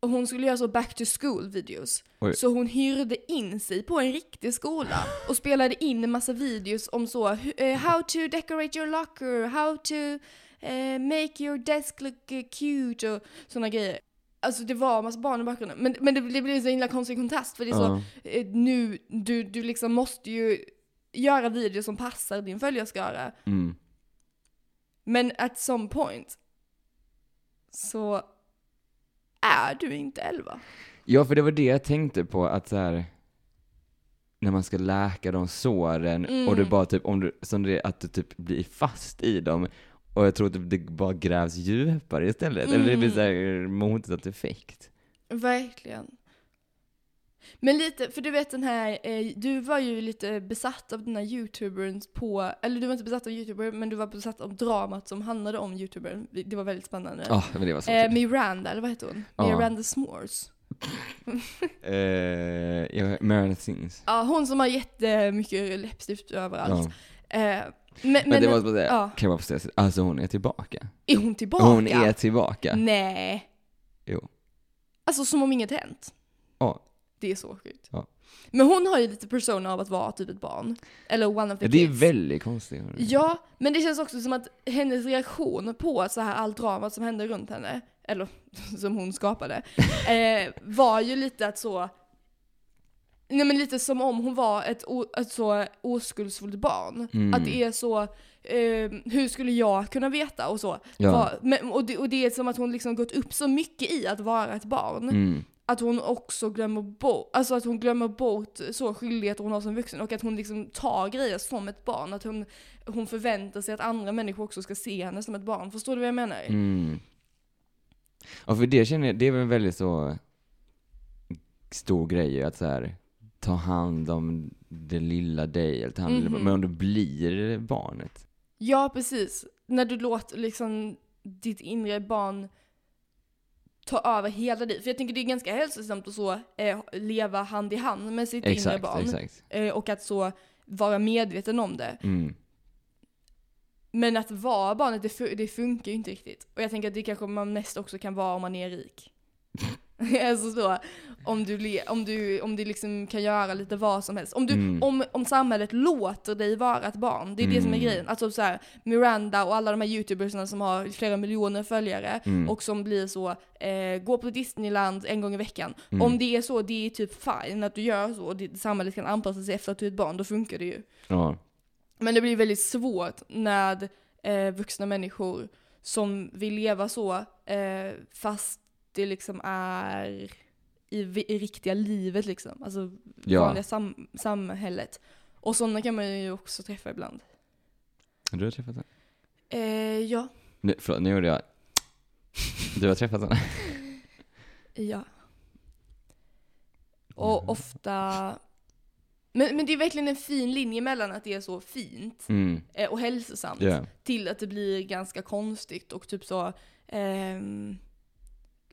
Speaker 1: Och hon skulle göra så back to school videos.
Speaker 2: Oj.
Speaker 1: Så hon hyrde in sig på en riktig skola och spelade in en massa videos om så hu- eh, how to decorate your locker, how to eh, make your desk look eh, cute och sådana grejer. Alltså det var en massa barn i bakgrunden. Men, men det, det blir så himla konstig kontrast för det är så,
Speaker 2: Ja.
Speaker 1: eh, nu, du, du liksom måste ju göra videos som passar din följarskara.
Speaker 2: Mm.
Speaker 1: Men at some point så är du inte 11.
Speaker 2: Ja, för det var det jag tänkte på att så här när man ska läka de såren
Speaker 1: Mm.
Speaker 2: och du bara typ, om du, som det är att du typ blir fast i dem och jag tror att det bara grävs djupare istället, eller det blir
Speaker 1: Mm.
Speaker 2: såhär motsatt effekt.
Speaker 1: Verkligen. Men lite, för du vet den här, eh, du var ju lite besatt av den här youtubern på, eller du var inte besatt av youtubern men du var besatt av dramat som handlade om youtubern. Det var väldigt spännande.
Speaker 2: Ja, Ah, men det var så
Speaker 1: eh,
Speaker 2: kul.
Speaker 1: Miranda, eller vad heter hon?
Speaker 2: Ja.
Speaker 1: Miranda S'mores.
Speaker 2: Eh, ja, Marilyn Sings.
Speaker 1: Ja, hon som har jättemycket läppstift
Speaker 2: Ja.
Speaker 1: överallt. Eh, men, men,
Speaker 2: Men, det var så att
Speaker 1: ja.
Speaker 2: kan jag bara få säga, så- alltså hon är tillbaka.
Speaker 1: är hon tillbaka? Mm.
Speaker 2: Hon är tillbaka.
Speaker 1: Nej.
Speaker 2: Jo.
Speaker 1: Alltså som om inget hänt.
Speaker 2: Ja.
Speaker 1: Det är så sjukt.
Speaker 2: Ja.
Speaker 1: Men hon har ju lite persona av att vara typ ett barn. Eller one of the
Speaker 2: Ja, det är
Speaker 1: kids.
Speaker 2: väldigt konstigt.
Speaker 1: Ja, men det känns också som att hennes reaktion på så här allt dramat som hände runt henne, eller <laughs> som hon
Speaker 2: <laughs>
Speaker 1: skapade, eh, var ju lite att så... Nej men lite som om hon var ett, o, ett så oskuldsfullt barn.
Speaker 2: Mm.
Speaker 1: Att det är så, eh, hur skulle jag kunna veta och så.
Speaker 2: Ja.
Speaker 1: Vad- men, och, det, och det är som att hon liksom gått upp så mycket i att vara ett barn
Speaker 2: Mm.
Speaker 1: att hon också glömmer bort, alltså att hon glömmer bort så skyldigheter hon har som vuxen och att hon liksom tar grejer som ett barn. Att hon, hon förväntar sig att andra människor också ska se henne som ett barn. Förstår du vad jag menar?
Speaker 2: Mm. Ja, för det känner jag, det är väl en väldigt så stor grej ju, att så här ta hand om det lilla dig, eller ta hand om det lilla-
Speaker 1: Mhm.
Speaker 2: men om du blir barnet.
Speaker 1: Ja, precis. När du låter liksom ditt inre barn ta över hela dig. För jag tänker det är ganska hälsosamt att så eh, leva hand i hand med sitt inre
Speaker 2: Exakt, Mm.
Speaker 1: barn.
Speaker 2: exakt.
Speaker 1: Eh, och att så vara medveten om det.
Speaker 2: Mm.
Speaker 1: Men att vara barnet, det, fu- det funkar ju inte riktigt. Och jag tänker att det kanske man mest också kan vara om man är rik. <laughs> alltså så, om du, le- om du, om du liksom kan göra lite vad som helst. Om, du,
Speaker 2: Mm.
Speaker 1: om, om samhället låter dig vara ett barn, det är det som är
Speaker 2: Mm.
Speaker 1: grejen. Alltså så här, Miranda och alla de här youtubersarna som har flera miljoner följare
Speaker 2: Mm.
Speaker 1: och som blir så, eh, gå på Disneyland en gång i veckan.
Speaker 2: Mm.
Speaker 1: Om det är så, det är typ fine att du gör så och det, samhället kan anpassa sig efter att du är ett barn, då funkar det ju.
Speaker 2: Ja.
Speaker 1: Men det blir väldigt svårt när eh, vuxna människor som vill leva så eh, fast det liksom är i, vi- i riktiga livet liksom. Alltså
Speaker 2: ja.
Speaker 1: vanliga sam- samhället. Och sådana kan man ju också träffa ibland.
Speaker 2: Du har träffat henne?
Speaker 1: Eh, ja.
Speaker 2: Nu, förlåt, nu gjorde jag... Du har träffat
Speaker 1: <laughs>
Speaker 2: henne?
Speaker 1: Ja.
Speaker 2: Mm.
Speaker 1: Och ofta... Men, men det är verkligen en fin linje mellan att det är så fint
Speaker 2: Mm.
Speaker 1: eh, och hälsosamt.
Speaker 2: Ja.
Speaker 1: till att det blir ganska konstigt och typ så ehm,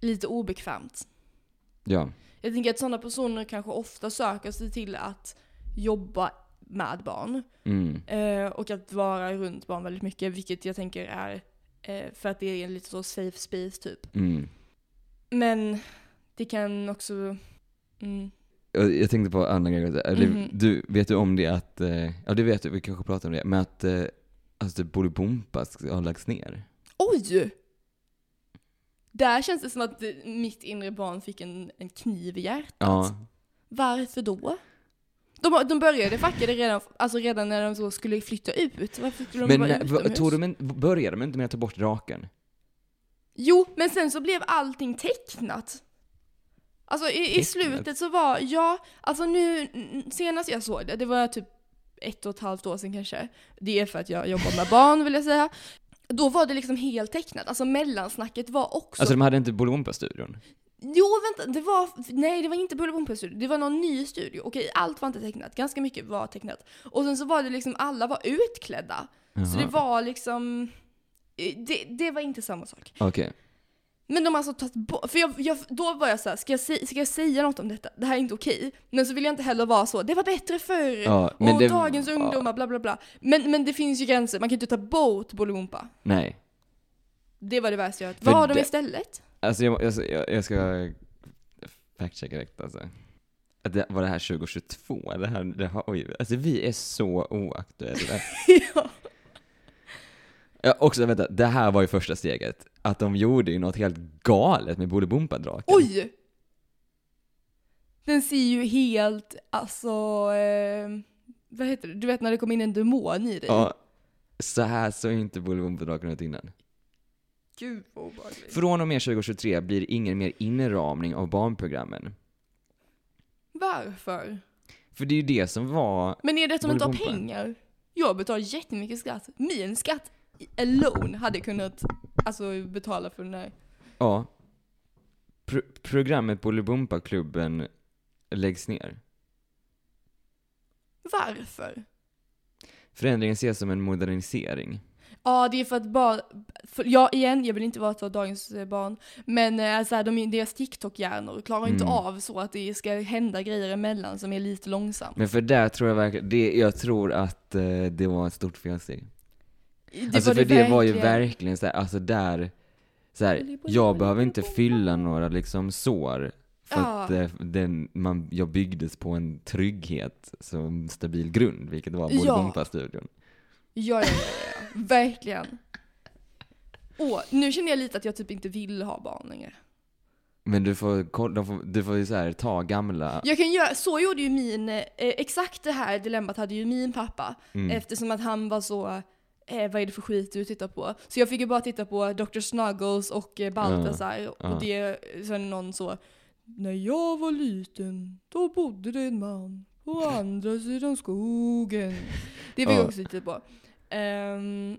Speaker 1: lite obekvämt.
Speaker 2: Ja.
Speaker 1: Jag tänker att sådana personer kanske ofta söker sig till att jobba med barn
Speaker 2: Mm.
Speaker 1: eh, och att vara runt barn väldigt mycket, vilket jag tänker är eh, för att det är en lite så safe space typ.
Speaker 2: Mm.
Speaker 1: Men det kan också... Mm,
Speaker 2: Och Jag tänkte på andra grejer. Eller,
Speaker 1: Mhm.
Speaker 2: du, vet du om det att, eh, ja det vet du, vi kanske pratar om det, men att eh, alltså typ Bolibompa sk- har lagts ner.
Speaker 1: oj! Där känns det som att eh, mitt inre barn fick en, en kniv i hjärtat.
Speaker 2: Ja.
Speaker 1: Varför då? De, har- de började fucka det redan, alltså redan när de så skulle flytta ut. Varför skulle de
Speaker 2: Men
Speaker 1: vara
Speaker 2: när- va-
Speaker 1: utomhus?
Speaker 2: tog de inte, började de inte med att ta bort draken?
Speaker 1: Jo, men sen så blev allting tecknat. Alltså i, i
Speaker 2: Tecknat?
Speaker 1: slutet så var, ja, alltså nu, n- senast jag såg det, det var typ ett och ett halvt år sedan kanske. Det är för att jag jobbar med barn vill jag säga. Då var det liksom helt tecknat, alltså mellansnacket var också
Speaker 2: Alltså de hade inte Bolibompa-studion?
Speaker 1: Jo, vänta, det var, nej det var inte Bullybompa-studio, det var någon ny studio. Okej, allt var inte tecknat, ganska mycket var tecknat. Och sen så var det liksom, alla var utklädda. Så det
Speaker 2: Jaha.
Speaker 1: var liksom, eh, det, det var inte samma sak.
Speaker 2: Okej.
Speaker 1: Men de har alltså tagit bort, för jag, jag, då var jag så här, ska jag, se, ska jag säga något om detta? Det här är inte okej. Men så vill jag inte heller vara så, det var bättre förr.
Speaker 2: Ja, men
Speaker 1: och
Speaker 2: det-
Speaker 1: dagens
Speaker 2: ja.
Speaker 1: ungdomar, bla bla bla. Men, men det finns ju gränser, man kan ju inte ta bort Bullybompa.
Speaker 2: Nej.
Speaker 1: Det var det värsta jag hört.
Speaker 2: För
Speaker 1: Vad har de
Speaker 2: det- <laughs>
Speaker 1: istället?
Speaker 2: Alltså jag, jag, jag, jag ska factchecka direkt alltså. Att det, var det här 2022? Det här, det har, oj, alltså vi är så oaktuella.
Speaker 1: ja.
Speaker 2: Ja, också vänta, det här var ju första steget. Att de gjorde ju något helt galet med Bolibompa-draken.
Speaker 1: Oj! Den ser ju helt, alltså, eh, vad heter det? Du vet när det kom in en demon i dig?
Speaker 2: Ja, så här såg ju inte Bolibompa-draken ut innan.
Speaker 1: Gud vad obehagligt.
Speaker 2: Från och med 2023 blir det ingen mer inramning av barnprogrammen.
Speaker 1: Varför?
Speaker 2: För det är ju det som var...
Speaker 1: Men är det att de inte har
Speaker 2: Bolibompa.
Speaker 1: pengar? Jag betalar jättemycket skatt. Min skatt alone hade kunnat alltså, betala för den här.
Speaker 2: Ja. Pr- programmet Bolibompa-klubben läggs ner.
Speaker 1: Varför?
Speaker 2: Förändringen ses som en modernisering.
Speaker 1: Ja, det är för att barn... För, ja, igen, jag vill inte vara ett av dagens eh, barn. Men eh, så här, de, deras TikTok-hjärnor klarar inte
Speaker 2: Mm.
Speaker 1: av så att det ska hända grejer emellan som är lite långsamt.
Speaker 2: Men för där tror jag verkligen, det, jag tror att eh, det var ett stort felsteg.
Speaker 1: Det
Speaker 2: alltså för det var ju
Speaker 1: verkligen.
Speaker 2: verkligen så här, alltså där, så här,
Speaker 1: Bolibompa,
Speaker 2: jag behöver inte
Speaker 1: bolibompa.
Speaker 2: fylla några liksom sår. För
Speaker 1: Ja.
Speaker 2: att eh, den, man, jag byggdes på en trygghet som stabil grund, vilket var
Speaker 1: Ja.
Speaker 2: Bolibompa-studion.
Speaker 1: Ja, ja, ja, ja. verkligen. Åh, nu känner jag lite att jag typ inte vill ha barn längre.
Speaker 2: Men du får, koll- de får, du får ju så här, ta gamla...
Speaker 1: Jag kan göra, så gjorde ju min, eh, exakt det här dilemmat hade ju min pappa.
Speaker 2: Mm.
Speaker 1: Eftersom att han var så, eh, vad är det för skit du tittar på? Så jag fick ju bara titta på Dr. Snuggles och eh, Baltasar.
Speaker 2: ja.
Speaker 1: Och det, sen någon så, när jag var liten, då bodde det en man på andra sidan skogen. Det fick
Speaker 2: Ja.
Speaker 1: jag också titta på. Ehm,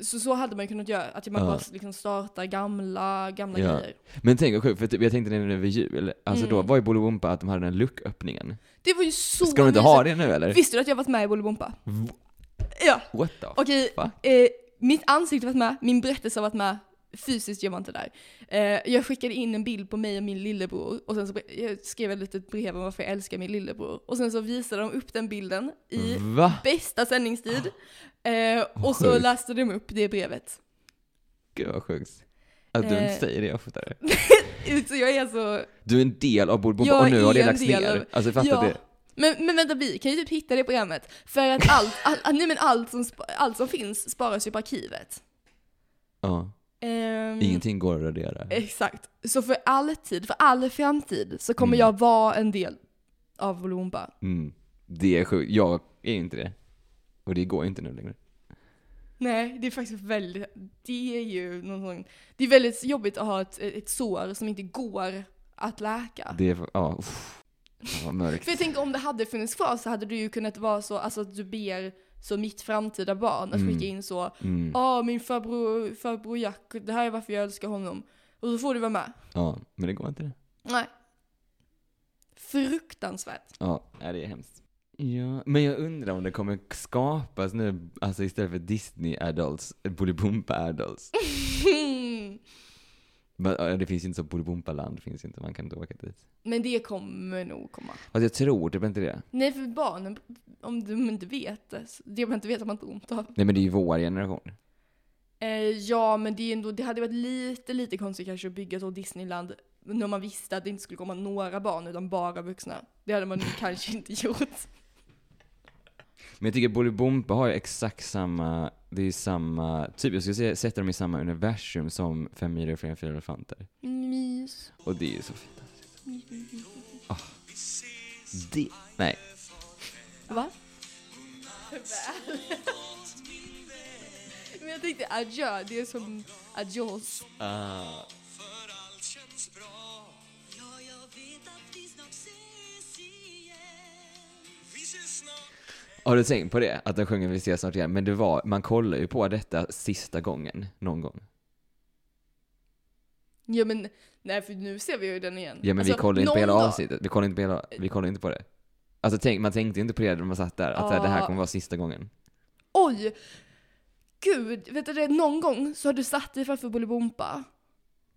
Speaker 1: så så hade man ju kunnat göra, att man
Speaker 2: Ja.
Speaker 1: bara liksom startar gamla, gamla
Speaker 2: Ja.
Speaker 1: grejer.
Speaker 2: Men tänk vad sjukt, för typ, jag tänkte det nu vid jul, alltså
Speaker 1: Mm.
Speaker 2: då var ju Bolibompa att de hade den här lucköppningen.
Speaker 1: Det var ju så
Speaker 2: Ska de inte ha det nu eller?
Speaker 1: Visste du att jag varit med i Bolibompa? Ja,
Speaker 2: What the
Speaker 1: okej.
Speaker 2: fuck?
Speaker 1: Eh, mitt ansikte har varit med, min berättelse har varit med. Fysiskt gör man inte där. Eh, jag skickade in en bild på mig och min lillebror och sen så bre- jag skrev jag ett litet brev om varför jag älskar min lillebror. Och sen så visade de upp den bilden i
Speaker 2: Va?
Speaker 1: bästa
Speaker 2: <gasps>
Speaker 1: sändningstid. Eh, och så
Speaker 2: Mm. Sjukt.
Speaker 1: läste de upp det brevet.
Speaker 2: Gud vad sjukt. Att du inte
Speaker 1: Eh.
Speaker 2: säger det oftare.
Speaker 1: Så jag är så...
Speaker 2: Du är en del av Bordbomba
Speaker 1: Jag
Speaker 2: och nu har
Speaker 1: är
Speaker 2: det
Speaker 1: en
Speaker 2: lagts
Speaker 1: del
Speaker 2: ner.
Speaker 1: av-
Speaker 2: Alltså fattar
Speaker 1: Ja.
Speaker 2: det?
Speaker 1: Men, men vänta, vi kan ju typ hitta det programmet. För att allt, all, all, nej, men allt, som, sp- allt som finns sparas ju på arkivet.
Speaker 2: Ja.
Speaker 1: Ehm,
Speaker 2: Ingenting går att radera.
Speaker 1: Exakt. Så för alltid, för all framtid, så kommer
Speaker 2: Mm.
Speaker 1: jag vara en del av Volumba.
Speaker 2: Mm. Det är sjukt. Jag är inte det. Och det går inte nu längre.
Speaker 1: Nej, det är faktiskt väldigt, det är ju någon sån, det är väldigt jobbigt att ha ett, ett sår som inte går att läka.
Speaker 2: Det är, för- ja, uff. Fan, vad mörkt.
Speaker 1: För jag tänker om det hade funnits kvar så hade du ju kunnat vara så, alltså att du ber så mitt framtida barn att
Speaker 2: Mm.
Speaker 1: skicka in så,
Speaker 2: Mm.
Speaker 1: ja min farbror, farbror Jack, det här är varför jag älskar honom. Och så får du vara med.
Speaker 2: Ja, men det går inte det.
Speaker 1: Nej. Fruktansvärt. <laughs>
Speaker 2: Ja, nej, det är hemskt. Ja, men jag undrar om det kommer skapas nu, alltså istället för Disney adults,
Speaker 1: <laughs>
Speaker 2: Bolibompa adults. Men, ja, Det finns ju inte så Bolibompa-land, finns inte, man kan inte åka dit.
Speaker 1: Men det kommer nog komma.
Speaker 2: Alltså jag tror typ inte det.
Speaker 1: Nej, för barnen, om de inte vet det, så- det man inte vet har man inte ont av.
Speaker 2: Nej men det är ju vår generation.
Speaker 1: Eh, ja, men det, är ändå, det hade varit lite, lite konstigt kanske att bygga så Disneyland när man visste att det inte skulle komma några barn utan bara vuxna. Det hade man <laughs> nog kanske inte gjort.
Speaker 2: Men jag tycker Bolibompa har ju exakt samma, det är ju samma, typ jag skulle säga, sätta dem i samma universum som Fem myror fler än fyra elefanter.
Speaker 1: Mys.
Speaker 2: Och det är ju så fint. Ah. Det, nej.
Speaker 1: Va? Men jag tänkte adjö, det är som adios.
Speaker 2: Ah.
Speaker 3: Ja, jag vet att vi snart ses igen. Vi ses snart.
Speaker 2: Har du tänkt på det? Att de sjunger Vi ses snart igen? Men det var, man kollar ju på detta sista gången, någon gång.
Speaker 1: Ja men, nej för nu ser vi ju den igen.
Speaker 2: Ja men vi
Speaker 1: Alltså,
Speaker 2: kollar inte på
Speaker 1: någon
Speaker 2: hela
Speaker 1: dag-
Speaker 2: avsnittet, vi kollar inte på hela, vi kollar inte på det. Alltså tänk, man tänkte ju inte på det när man satt där, att så här, det här
Speaker 1: Ah.
Speaker 2: kommer vara sista gången.
Speaker 1: Oj! Gud, vet du det? Någon gång så har du satt dig framför Bolibompa.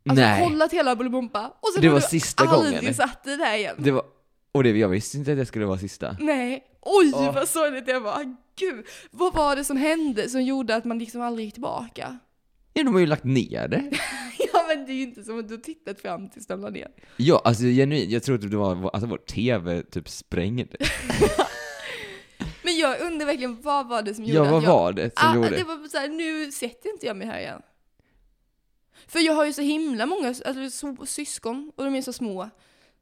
Speaker 1: Alltså
Speaker 2: nej!
Speaker 1: kollat hela Bolibompa och sen
Speaker 2: Det
Speaker 1: har
Speaker 2: var
Speaker 1: du
Speaker 2: sista
Speaker 1: aldrig
Speaker 2: gången.
Speaker 1: satt dig där igen.
Speaker 2: Det var, och det, jag visste inte att det skulle vara sista.
Speaker 1: Nej. Oj
Speaker 2: Åh.
Speaker 1: vad sorgligt det var. Gud, vad var det som hände som gjorde att man liksom aldrig gick tillbaka? <laughs>
Speaker 2: Ja, de har ju lagt ner det.
Speaker 1: Ja men det är ju inte som att du har tittat fram tills den la ner.
Speaker 2: Ja, alltså genuint, jag trodde det var, alltså vår TV
Speaker 1: <laughs>
Speaker 2: typ sprängde.
Speaker 1: Men jag undrar verkligen vad var det som gjorde
Speaker 2: Ja, vad
Speaker 1: att jag...
Speaker 2: var det som
Speaker 1: ah,
Speaker 2: gjorde?
Speaker 1: det var så här, nu sätter inte jag mig här igen. För jag har ju så himla många alltså, so- syskon och de är så små.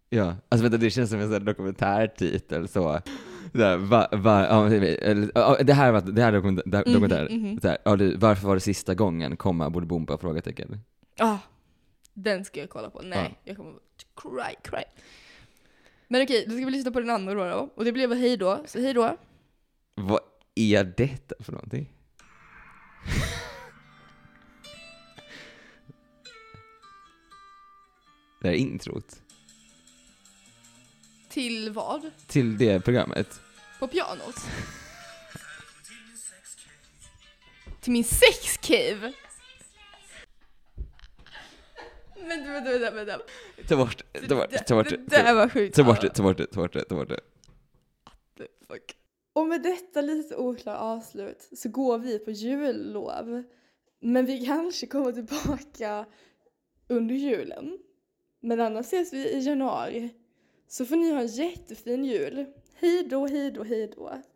Speaker 2: Ja, alltså vänta, det känns som en sån här dokumentärtitel så. Såhär, va, va, ja, men typ, eller, ja, det här var det här dokumentär,
Speaker 1: Mhm,
Speaker 2: dokumentär
Speaker 1: mhm.
Speaker 2: Såhär, ja, du, varför var det sista gången, komma, borde bomba, frågetecken.
Speaker 1: Ja, den ska jag kolla på. Nej,
Speaker 2: Ja.
Speaker 1: jag kommer cry, cry. Men okej, då ska vi lyssna på den andra då, då. Och det blev hej då, så hej då.
Speaker 2: Vad är detta för någonting? <laughs> det här är introt
Speaker 1: Till vad?
Speaker 2: till det programmet.
Speaker 1: På pianot? Till min sexcave? Vänta, vänta, vänta, vänta.
Speaker 2: Ta bort, ta bort, ta bort,
Speaker 1: Det där var sjukt.
Speaker 2: ta bort det, ta bort det, ta bort det, ta bort det.
Speaker 1: Fuck. Och med detta lite oklara avslut så går vi på jullov. Men vi kanske kommer tillbaka under julen. Men annars ses vi i januari. Så får ni ha en jättefin jul. Hej då, hej då, hej då.